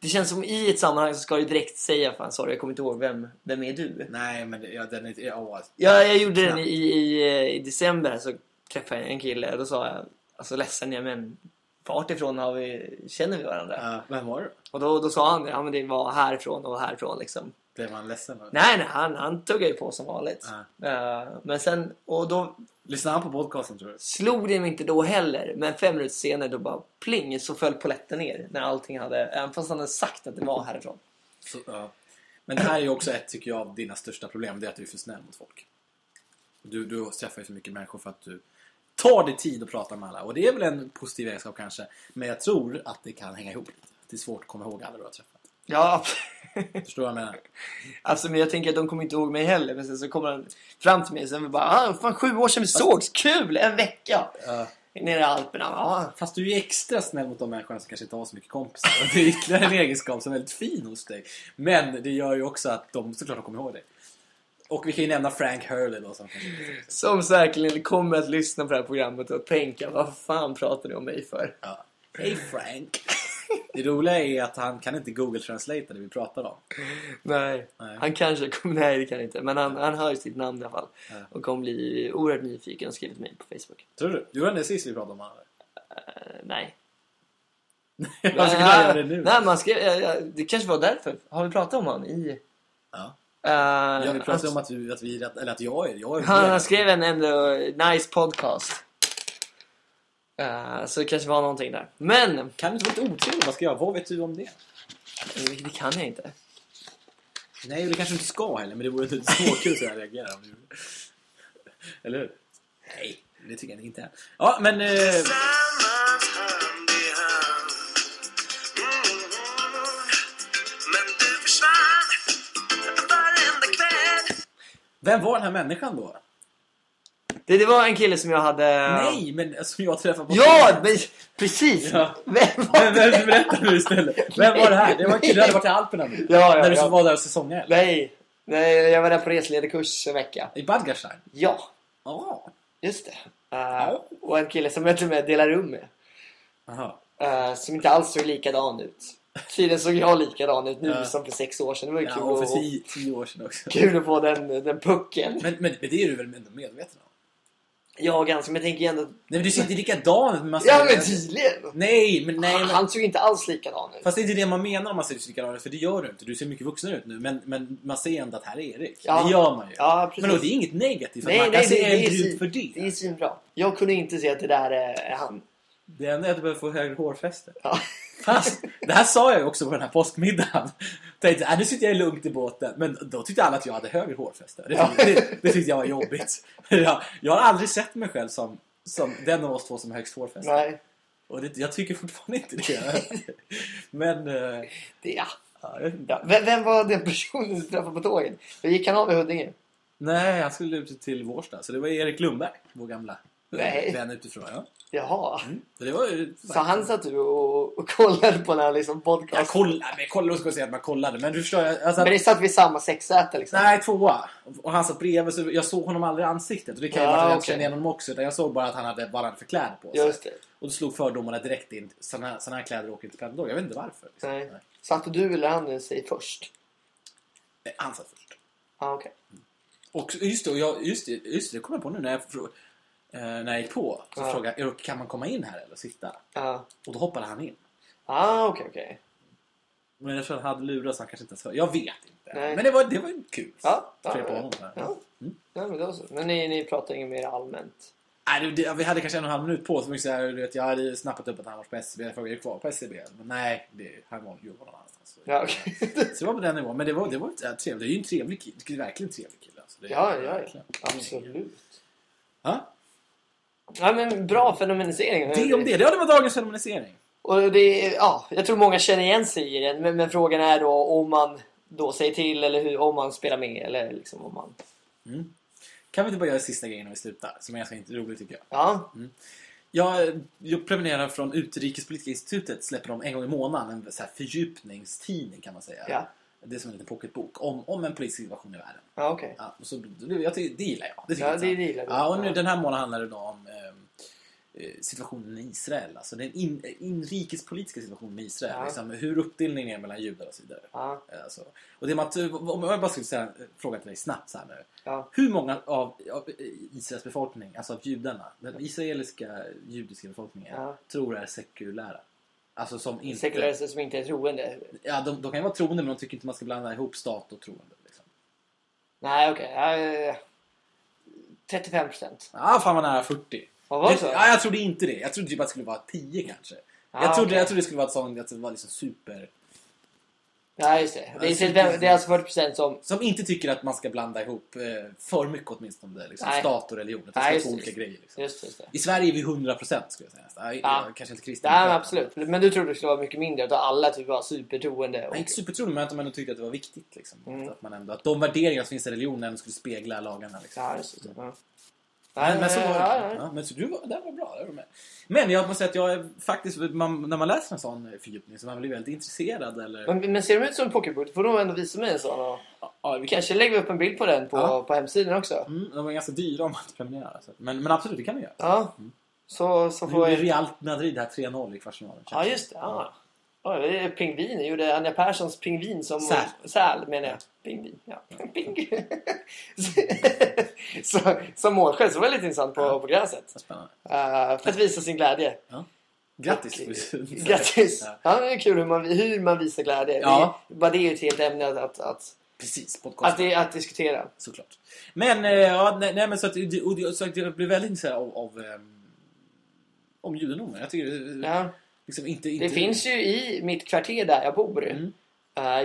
det känns som i ett sammanhang så ska du direkt säga Fan sorry, jag kommer inte ihåg vem, vem är du?
Nej, men det- ja, den är... Ja,
Ja, jag gjorde den i, i, i december här, så träffade jag en kille och då sa jag Alltså ledsen jag men vart ifrån har vi, känner vi varandra?
eh, vem var du?
Och då, då sa han ja men det var härifrån och härifrån liksom.
Blev han ledsen? va?
Nej nej, han, han tuggade ju på som vanligt. Eh, men sen, och då
Lyssnade han på podcasten tror du?
slog det mig inte då heller. Men fem minuter senare då bara pling så föll poletten ner. När allting hade, även fast han hade sagt att det var härifrån.
Så, ja. Men det här är ju också ett, tycker jag, av dina största problem. Det är att du är för snäll mot folk. Du, du träffar ju så mycket människor för att du tar dig tid att prata med alla. Och det är väl en positiv egenskap kanske. Men jag tror att det kan hänga ihop. Det är svårt att komma ihåg alla du har träffat.
Ja,
Förstår du vad jag menar?
Alltså men jag tänker att de kommer inte ihåg mig heller. Men sen så kommer han fram till mig och sen vi bara ah, fan sju år sedan vi sågs, kul! En vecka!
Ja.
Nere i Alperna. Ah.
Fast du är ju extra snäll mot de människorna som kanske inte har så mycket kompisar. Och Det är ytterligare en egenskap som är väldigt fin hos dig. Men det gör ju också att de såklart kommer ihåg dig. Och vi kan ju nämna Frank Hurley då som kanske
Som säkerligen kommer att lyssna på det här programmet och tänka vad fan pratar ni om mig för?
Ja. Hej Frank! Det roliga är att han kan inte Google Translate det vi pratar om.
Nej.
Nej.
Han kanske kommer... Nej det kan han inte. Men han, han hör ju sitt namn i alla fall.
Ja.
Och kommer bli oerhört nyfiken och skriva till mig på Facebook.
Tror du? Du gjorde det sist vi pratade om honom.
Eh, nej.
Varför skulle han göra det nu?
Nej, man skrev, ja, ja, det kanske var därför. Har vi pratat om han i...
Ja.
eh,
Ja, vi pratade
han-
om att, vi, att, vi, eller att jag är... Jag är
Han, han skrev en ändå nice podcast. Eh, så det kanske var någonting där. Men eh,
Kan du inte vara lite otrevlig? Vad ska jag? Vad vet du om det?
det kan jag inte.
Nej, och det kanske du inte ska heller, men det vore lite småkul så jag reagerar om du gjorde det. Eller hur? Nej, det tycker jag inte. Ja, men... Eh,
Tillsammans hand i hand. Mm. Men du försvann varenda kväll
vem var den här människan då?
Det, det var en kille som jag hade...
Nej, men som jag träffade på...
Ja, men, precis!
Ja.
Vem var
Men, men berätta nu istället. Vem var det här? Det var en kille som hade varit i Alperna nu.
Ja, ja,
när du
ja.
så var där och säsongade.
Nej. Nej, jag var där på reselederkurs en vecka.
I Badgerstein?
Ja,
Ja.
just det. Eh, och en kille som jag till och med delar rum med.
Jaha.
eh, som inte alls såg likadan ut. Tydligen såg jag likadan ut nu
Ja.
som för sex år sedan. Det var ju
Ja,
kul,
och för
att-
tio, tio år sedan också.
kul att få den, den pucken.
Men, men, men det är du väl ändå medveten om?
Ja, ganska. Men jag tänker ändå...
Nej men du ser inte likadan ut med massa...
Ja, men tydligen!
Nej men nej men...
Han såg inte alls likadan ut.
Fast det är inte det man menar om man ser ut likadan ut, för det gör du inte. Du ser mycket vuxnare ut nu, men, men man ser ändå att här är Erik.
Ja.
Det gör man ju.
Ja, precis.
men då, det är inget negativt, för
Nej,
man kan
nej,
se
det- det är
äldre ut
si-
för det.
Det är svinbra. Jag kunde inte se att det där är han.
Det enda är att du behöver få högre hårfäste.
Ja.
Fast, det här sa jag ju också på den här påskmiddagen. Tänkte, äh, nu sitter jag lugnt i båten. Men då tyckte alla att jag hade högre hårfäste. Det, tyckte- det, det tyckte jag var jobbigt. Jag, jag har aldrig sett mig själv som, som den av oss två som har högst hårfäste.
Nej,
Och det, jag tycker fortfarande inte det. men, eh,
det är
ja, jag vet inte.
ja. vem, vem var den personen som träffade på tåget? Då gick han av i Huddinge.
Nej, han skulle ut till Vårsta. Så det var Erik Lundberg, vår gamla
Nej.
vän utifrån. Ja. Mm.
Jaha.
Så det var ju...
Så han satt du och, och kollade på den här liksom
Jag
podcast.
kollade, men kollade och skulle säga att man kollade. Men du förstår, jag, alltså,
Men det satt vid samma sexsäte liksom?
Nej, tvåa. Och han satt bredvid så jag såg honom aldrig i ansiktet. Och det kan ju
Ja,
vara att jag
Ah, okej.
kände igen honom också. Utan jag såg bara att han hade bara hade förkläder på sig.
Just det.
Och då slog fördomarna direkt in. Sådana här, såna här kläder åker inte till pendeltåg. Jag vet inte varför. liksom.
Nej. Satt du eller han sig först?
Nej, Han satt först.
Ja, okej.
Och så- just det, och jag, just det, just det, det kom jag på nu när jag, frå- eh, när jag gick på. Så
Ja.
frågade jag, kan man komma in här eller sitta?
Ja.
Och då hoppade han in.
Ah, okej, okej.
Men jag tror han hade lurat så han kanske inte ens hörde. Jag vet inte.
Nej.
Men det var, det var ju kul.
Ja, ja,
Tre på
ja.
honom. Mm. så här.
Ja. Ja, men då så. Men ni, ni pratar inget mer allmänt?
Nej, det, det, vi hade kanske en och en halv minut på oss. men Så här, du vet, jag hade snappat upp att han var på SCB. Jag frågade, är du kvar på SCB? Men nej, det, han var ju någon annanstans.
Ja, okej.
Så det var på den nivån. Men det var, det var ett, äh, trevligt. Det är ju en trevlig kille. Det är verkligen en trevlig kille. Alltså. Det,
Ja, ja, ja.
verkligen.
Absolut.
Ja,
Ja, men bra fenomenisering.
det om det. Det var dagens fenomenisering.
Och det, ja, jag tror många känner igen sig i den, men, men frågan är då om man då säger till eller hur, om man spelar med eller liksom om man...
Kan vi inte bara göra sista grejen när vi slutar? Som är ganska inte roligt tycker jag.
Ja,
Mm. Jag, jag prenumererar från Utrikespolitiska institutet. Släpper de en gång i månaden en så här fördjupningstidning kan man säga.
ja,
Det är som en liten pocketbok om, om en politisk situation i världen.
ja okej.
Ja, och så, det, jag tycker, det gillar jag. Det tycker
Ja,
jag
det
är
det gillar vi.
Ja, och nu, den här månaden handlar det då om ehm, eh, situationen i Israel. Alltså den in, inrikespolitiska situationen i Israel.
Ja.
Liksom, hur uppdelningen är mellan judar och så vidare.
Ja,
Eh, Alltså, och det med att, eh, om jag bara skulle säga, eh, fråga till dig snabbt så här nu.
ja,
Hur många av, av eh, Israels befolkning, alltså av judarna, den israeliska judiska befolkningen,
Ja.
tror är sekulära? Alltså som inte...
sekulärister som inte är troende.
Ja, de, de kan ju vara troende men de tycker inte man ska blanda ihop stat och troende. Liksom.
Nej, okej. ja, eh, 35 procent.
Ja, fan vad nära 40.
Vad var det så?
ja, jag trodde inte det. Jag trodde typ att det skulle vara 10 kanske.
Ah,
jag, trodde,
okej.
jag trodde det skulle vara ett sånt att det var liksom super...
Ja, just det. Det är,
Alltså,
35, det är alltså 40 procent som...
Som inte tycker att man ska blanda ihop eh, för mycket åtminstone. Liksom,
Nej.
stat och religion. Att det
Nej,
ska vara
just
två
det,
olika
just
grejer. Liksom.
Just det, just det.
I Sverige är vi 100% skulle jag säga. Så, jag,
Ja.
jag, kanske inte kristen.
Nej, men absolut. Men du trodde det skulle vara mycket mindre, att alla typ var supertroende. Och...
Nej, inte supertroende men att de ändå tyckte att det var viktigt. Liksom.
Mm.
Att, man ändå, att de värderingar som finns i religionen skulle spegla lagarna. Liksom.
Ja, just det. Ja.
Men, men så var det.
Ja, ja.
Ja, men så du var, det var bra. där var du med. Men jag måste säga att jag är faktiskt, man, när man läser en sån eh, fördjupning så man blir väldigt intresserad. Eller,
Men, men ser de ut som en pocketbok? Då får du ändå visa mig en sån. Och...
ja, vi kan,
Kanske lägger vi upp en bild på den på,
Ja.
på hemsidan också.
mm, de var ganska dyra om man inte prenumererar. så att- Men, men absolut, det kan vi göra.
Ja. Så, så
Nu
får
gjorde
jag...
Real Madrid här 3-0 i kvartsfinalen.
Ja, just det. Ja. Oj, det är pingvin. Jag gjorde Anja Perssons pingvin som...
Säl.
Säl menar jag. Pingvin. Ja. Ping. så, som målgest. Så var det lite intressant på, på gräset.
Vad Spännande.
Eh, för att visa sin glädje.
Grattis!
Grattis!
Ja,
Ja, det är kul hur man, hur man visar glädje.
Ja.
Det, bara det är ju ett helt ämne att, att, att,
precis,
att,
podcast.
det, att diskutera.
Såklart. Men, eh, ja, nej, nej, men så att, och, och, så att jag blev väldigt intresserad av, av ehm, om judendomen. Jag tycker eh,
Ja.
liksom inte... inte
Det finns ju i mitt kvarter där jag bor,
Mm.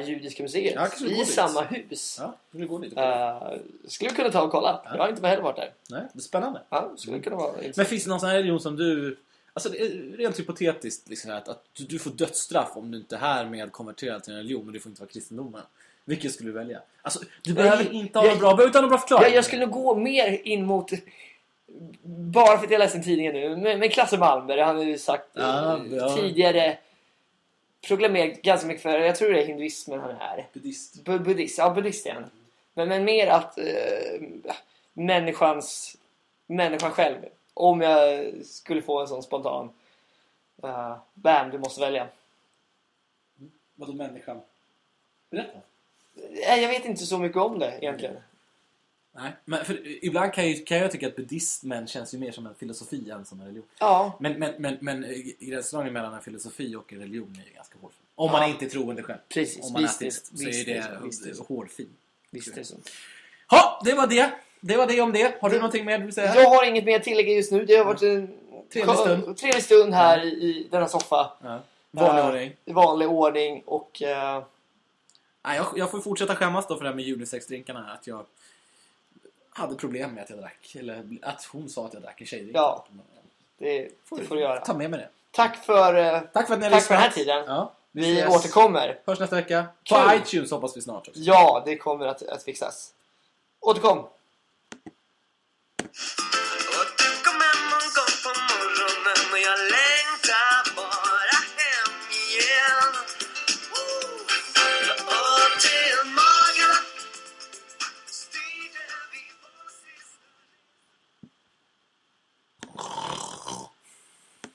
eh, Judiska museet,
Ja, kanske vi går
i
dit.
samma hus.
Ja, vill du gå dit? och kolla?
Eh, skulle vi kunna ta och kolla.
Ja. Mm.
Jag har inte heller varit där.
Nej, det är spännande.
Ja, skulle kunna vara
Men finns det någon sån här religion som du... Alltså det är rent hypotetiskt liksom att, att du, du får dödsstraff om du inte härmed konverterar till en religion och du får inte vara kristendomen. Vilken skulle du välja? Alltså, du behöver inte ha
jag-
någon bra, behöver inte ha någon bra förklaring.
jag, jag skulle nog gå mer in mot... Bara för att jag läste en tidning nu, men, men Klasse Malmberg, han har ju sagt eh,
Ja, ja.
tidigare... Proklamerat ganska mycket för, jag tror det är hinduismen han är.
Buddhist.
Bu- buddhist, ja buddhist är han. Men, men mer att eh, människans, människan själv. Om jag skulle få en sån spontan. eh, bam, du måste välja.
Vadå människan? Berätta.
Nej, Eh, Jag vet inte så mycket om det egentligen.
Nej, men för ibland kan, ju, kan jag tycka att buddhismen känns ju mer som en filosofi än som en religion.
Ja.
Men, men, men, men eh, gränsdragningen mellan en filosofi och en religion är ju ganska hårfin. Om man
Ja.
inte är troende själv.
Precis,
Om man är
visst,
ateist så
visst,
är det,
visst, visst.
hårfin.
Visst är det så.
Ja, det var det. Det var det om det. Har du
Det-
någonting mer du vill säga?
Jag har inget mer att tillägga just nu. Det har varit en
Trevlig
skön-
stund.
trevlig stund här i, i denna soffa. Eh,
Ja. Vanlig ordning.
I vanlig ordning och... eh,
Nej, jag, jag får fortsätta skämmas då för det här med unisex-drinkarna. här, Att jag hade problem med att jag drack. Eller att hon sa att jag drack en tjejdrink.
Ja, det, det får du göra.
Ta med mig det.
Tack för... eh,
Tack för att ni har
Tack för den här
lyssnat.
tiden.
Ja,
vi
ses.
återkommer.
Hörs nästa vecka. På
Kul.
iTunes hoppas vi snart också.
Ja, det kommer att, att fixas. Återkom!